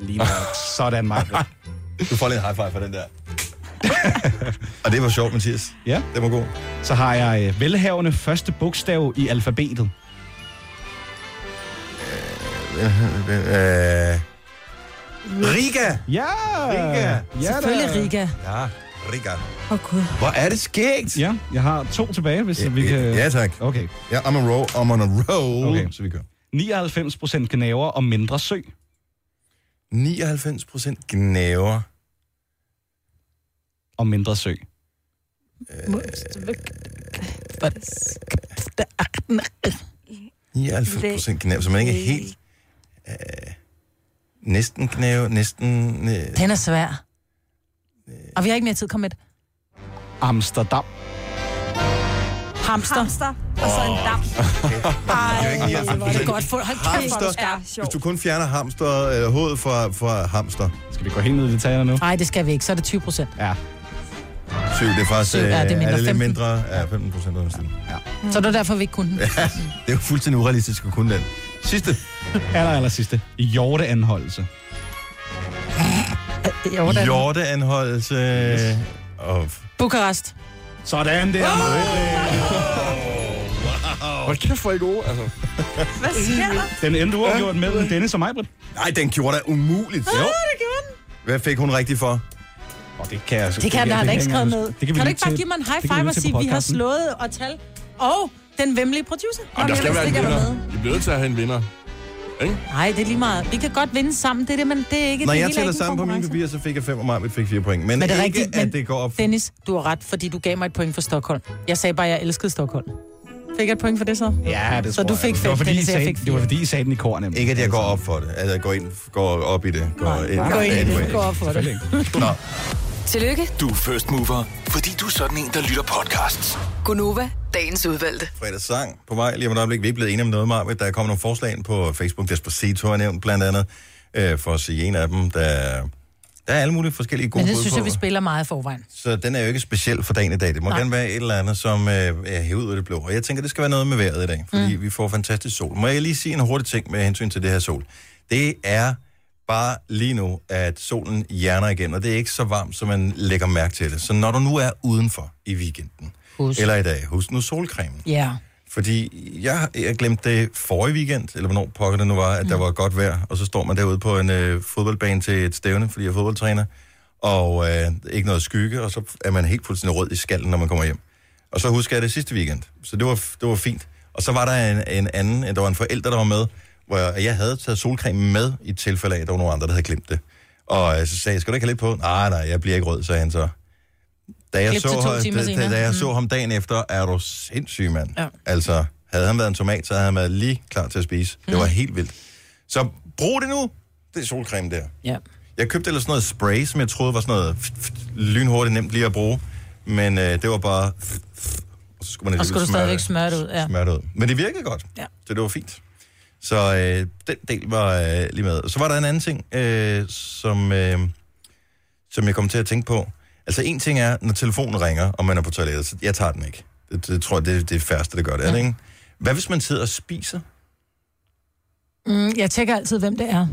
Lige netop. Sådan, Michael. Du får lige en high five for den der. Og det var sjovt, Mathias. Ja. Det var god. Så har jeg øh, velhavende første bogstav i alfabetet. Uh, Øh, Riga! Ja! Riga. Ja, Selvfølgelig da. Riga. Ja, Riga. Åh, Gud. Hvor er det skægt! Ja, jeg har to tilbage, hvis vi kan... Ja, tak. Okay. Ja, I'm on a roll. I'm on a roll. Okay. Så vi kører. 99 procent kanaver og mindre sø. 99 procent gnaver. Og mindre sø. Øh, 99 procent gnaver, så man ikke er helt... Øh, næsten gnave, næsten... Øh, Den er svær. Og vi har ikke mere tid. Kom med et Amsterdam. hamster. Hamster, og så en dam. det er jo ikke 99 Hvor er det procent. godt for... Hold kæft, hvor er du Hamster. skarp. Ja, sjov. Hvis du kun fjerner hamster, øh, hovedet fra, fra hamster. Skal vi gå helt ned i detaljerne nu? Nej, det skal vi ikke. Så er det 20 procent. Ja. 7, det er faktisk... Syv, ja, Øh, det er er, det mindre. lidt 15. mindre? Ja, 15 procent af den ja. Så det var derfor, vi ikke kunne den. Det er jo fuldstændig urealistisk at kunne den. Sidste. Aller, aller sidste. Hjorteanholdelse. Jo, den. Hjorteanholdelse. Og... Bukarest. Sådan der. Hold kæft, hvor er I gode, altså. Hvad sker der? Den endte uafgjort mellem Dennis og Majbrit. Nej, den gjorde da umuligt. Jo. Hvad fik hun rigtigt for? Og Altså, det kan jeg Det kan jeg, der har ikke skrevet ned. Det kan, vi Kan du lytte ikke bare til- give mig en high det kan vi five og lytte til sige, på vi har podcasten. slået og tal? Og den vemmelige producer. Jamen, der skal Jamen, være en stikker der med. vinder. I bliver nødt til at have en vinder. Ikke? Nej, det er lige meget. Vi kan godt vinde sammen. Det er det, men det er ikke Når det jeg hele er tæller ikke en sammen på mine konkurrence. papirer, så fik jeg 5, og Marvitt fik 4 point. Men, Men det er ikke, rigtigt, at men- det går op. Dennis, du har ret, fordi du gav mig et point for Stockholm. Jeg sagde bare, at jeg elskede Stockholm. Fik jeg et point for det så? Ja, det Så tror du jeg. fik Det var fem, fordi, I Dennis, jeg sagde- fik Det var fire. fordi, I sagde den i kor, nemlig. Ikke, at jeg går op for det. Altså, jeg går, ind, går op i det. Går ind, Gå ind i for det. Gå op for det. Nå, Tillykke, Du er first mover, fordi du er sådan en, der lytter podcasts. Gunova, dagens udvalgte. fredagssang på vej. Lige om et øjeblik. Vi er ikke blevet enige om noget, Marvitt. Der er kommet nogle forslag ind på Facebook. Despacito har jeg nævnt blandt andet. Øh, for at sige en af dem, der... Der er alle mulige forskellige gode Men det bud synes på. jeg, vi spiller meget i forvejen. Så den er jo ikke speciel for dagen i dag. Det må Nej. gerne være et eller andet, som øh, er hævet ud af det blå. Og jeg tænker, det skal være noget med vejret i dag, fordi mm. vi får fantastisk sol. Må jeg lige sige en hurtig ting med hensyn til det her sol? Det er bare lige nu, at solen hjerner igen, og det er ikke så varmt, som man lægger mærke til det. Så når du nu er udenfor i weekenden, Husk. eller i dag, husk nu solcremen. Ja. Fordi jeg, jeg glemte det forrige weekend, eller hvornår pokker det nu var, at mm. der var godt vejr, og så står man derude på en øh, fodboldbane til et stævne, fordi jeg er fodboldtræner, og øh, ikke noget skygge, og så er man helt fuldstændig rød i skallen, når man kommer hjem. Og så husker jeg det sidste weekend, så det var, det var fint. Og så var der en, en anden, øh, der var en forælder, der var med, hvor jeg, jeg havde taget solcreme med i tilfælde af, at der var nogle andre, der havde glemt det. Og øh, så sagde jeg, skal du ikke have lidt på? Nej, nej, jeg bliver ikke rød, sagde han så. Da jeg, Klip til to så, timer da, da, senere. da jeg Mm. så ham dagen efter, er du sindssyg, mand. Ja. Altså, havde han været en tomat, så havde han været lige klar til at spise. Det Mhm. var helt vildt. Så brug det nu, det er solcreme der. Ja. Jeg købte ellers sådan noget spray, som jeg troede var sådan noget f- f- lynhurtigt nemt lige at bruge. Men øh, det var bare... f- f- Og så skulle man Og skulle du alligevel stadigvæk smøre det ud, ja. smøre det ud. Men det virkede godt. Ja. Så det var fint. Så øh, den del var øh, lige med. Så var der en anden ting, øh, som, øh, som jeg kom til at tænke på. Altså en ting er, når telefonen ringer, og man er på toilettet, så jeg tager den ikke. Det, det tror jeg, det, det er det færreste, der gør det. Er det ikke? Hvad hvis man sidder og spiser? Mm, jeg tjekker altid, hvem det er.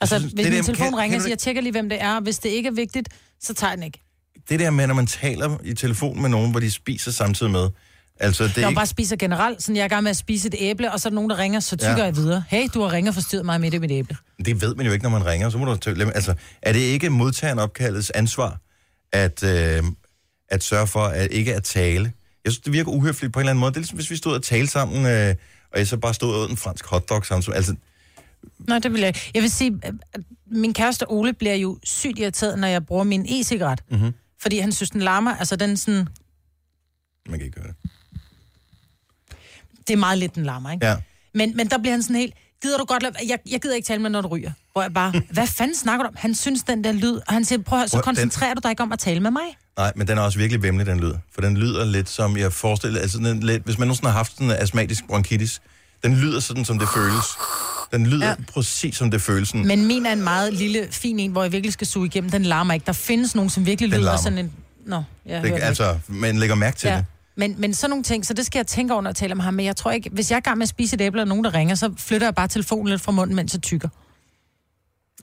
Altså, synes, hvis det min der- telefon kan- ringer, kan så du- jeg tjekker lige, hvem det er. Hvis det ikke er vigtigt, så tager jeg den ikke. Det der med, når man taler i telefon med nogen, hvor de spiser samtidig med. Altså, det Det er jeg ikke... bare spiser generelt. Sådan, jeg er i gang med at spise et æble, og så er der nogen, der ringer, så tykker Ja. ja. jeg videre. Hey, du har ringet og forstyrret mig midt i mit æble. Det ved man jo ikke, når man ringer. Så må du tø- altså, er det ikke modtageren opkaldets ansvar at, øh, at sørge for at ikke at tale? Jeg synes, det virker uhøfligt på en eller anden måde. Det er ligesom, hvis vi stod og talte sammen, øh, og jeg så bare stod og åd en fransk hotdog sammen. Altså, Nej, det vil jeg ikke. Jeg vil sige, at min kæreste Ole bliver jo sygt irriteret, når jeg bruger min e-cigaret. mm-hmm. Fordi han synes, den larmer. Altså, den sådan... man kan ikke gøre det. Det er meget lidt, den larmer, ikke? Ja. Men, men der bliver han sådan helt... Gider du godt lade... Jeg, jeg gider ikke tale med, når du ryger. Hvor jeg bare... Hvad fanden snakker du om? Han synes, den der lyd... Og han siger, prøv at høre, så Prøv, den- koncentrerer du dig ikke om at tale med mig. Nej, men den er også virkelig vemmelig, den lyd. For den lyder lidt som, jeg forestiller, altså den er lidt, hvis man nogensinde har haft sådan en astmatisk bronkitis, den lyder sådan, som det føles. Den lyder ja. Ja. præcis, som det føles. Sådan. Men min er en meget lille, fin en, hvor jeg virkelig skal suge igennem. Den larmer ikke. Der findes nogen, som virkelig Den lyder larmer. sådan en... Nå, jeg hørte det, ikke. altså, man lægger mærke til ja. det. Men, men sådan nogle ting, så det skal jeg tænke over, når jeg taler med ham. Men jeg tror ikke, hvis jeg er i gang med at spise et æble, og nogen, der ringer, så flytter jeg bare telefonen lidt fra munden, mens jeg tykker.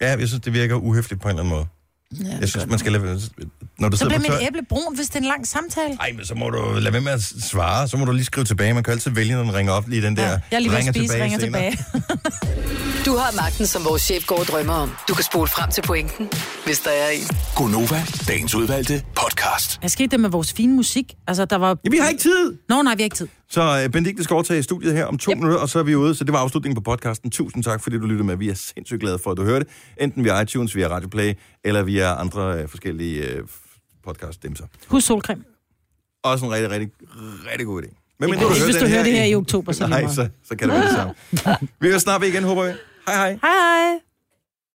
Ja, jeg synes, det virker uhøfligt på en eller anden måde. Ja, jeg synes, man skal lade... Når du så sidder bliver på tøj... mit æble brun, hvis det er en lang samtale. Ej, men så må du lade være med at svare. Så må du lige skrive tilbage. Man kan altid vælge, når den ringer op lige den der. Ja, jeg er lige ved at ringer spise, tilbage ringer senere. Du har magten, som vores chef går og drømmer om. Du kan spole frem til pointen, hvis der er en. Gonova, dagens udvalgte podcast. Hvad skete der med vores fine musik? Altså, der var... Ja, vi har ikke tid! Nå, nej, vi har ikke tid. Så øh, Benedikte skal overtage studiet her om to yep. minutter, og så er vi ude. Så det var afslutningen på podcasten. Tusind tak, fordi du lyttede med. Vi er sindssygt glade for, at du hørte. Enten via iTunes, via Radio Play, eller via andre øh, forskellige øh, podcast-dimser. Husk solcreme. Også en rigtig, rigtig, rigtig god idé. Men, Ikke hvis du hører det her i oktober, så er det Nej, lige meget. så, så kan det være det samme. Vi hører snart ved igen, håber vi. Hej hej. Hej hej.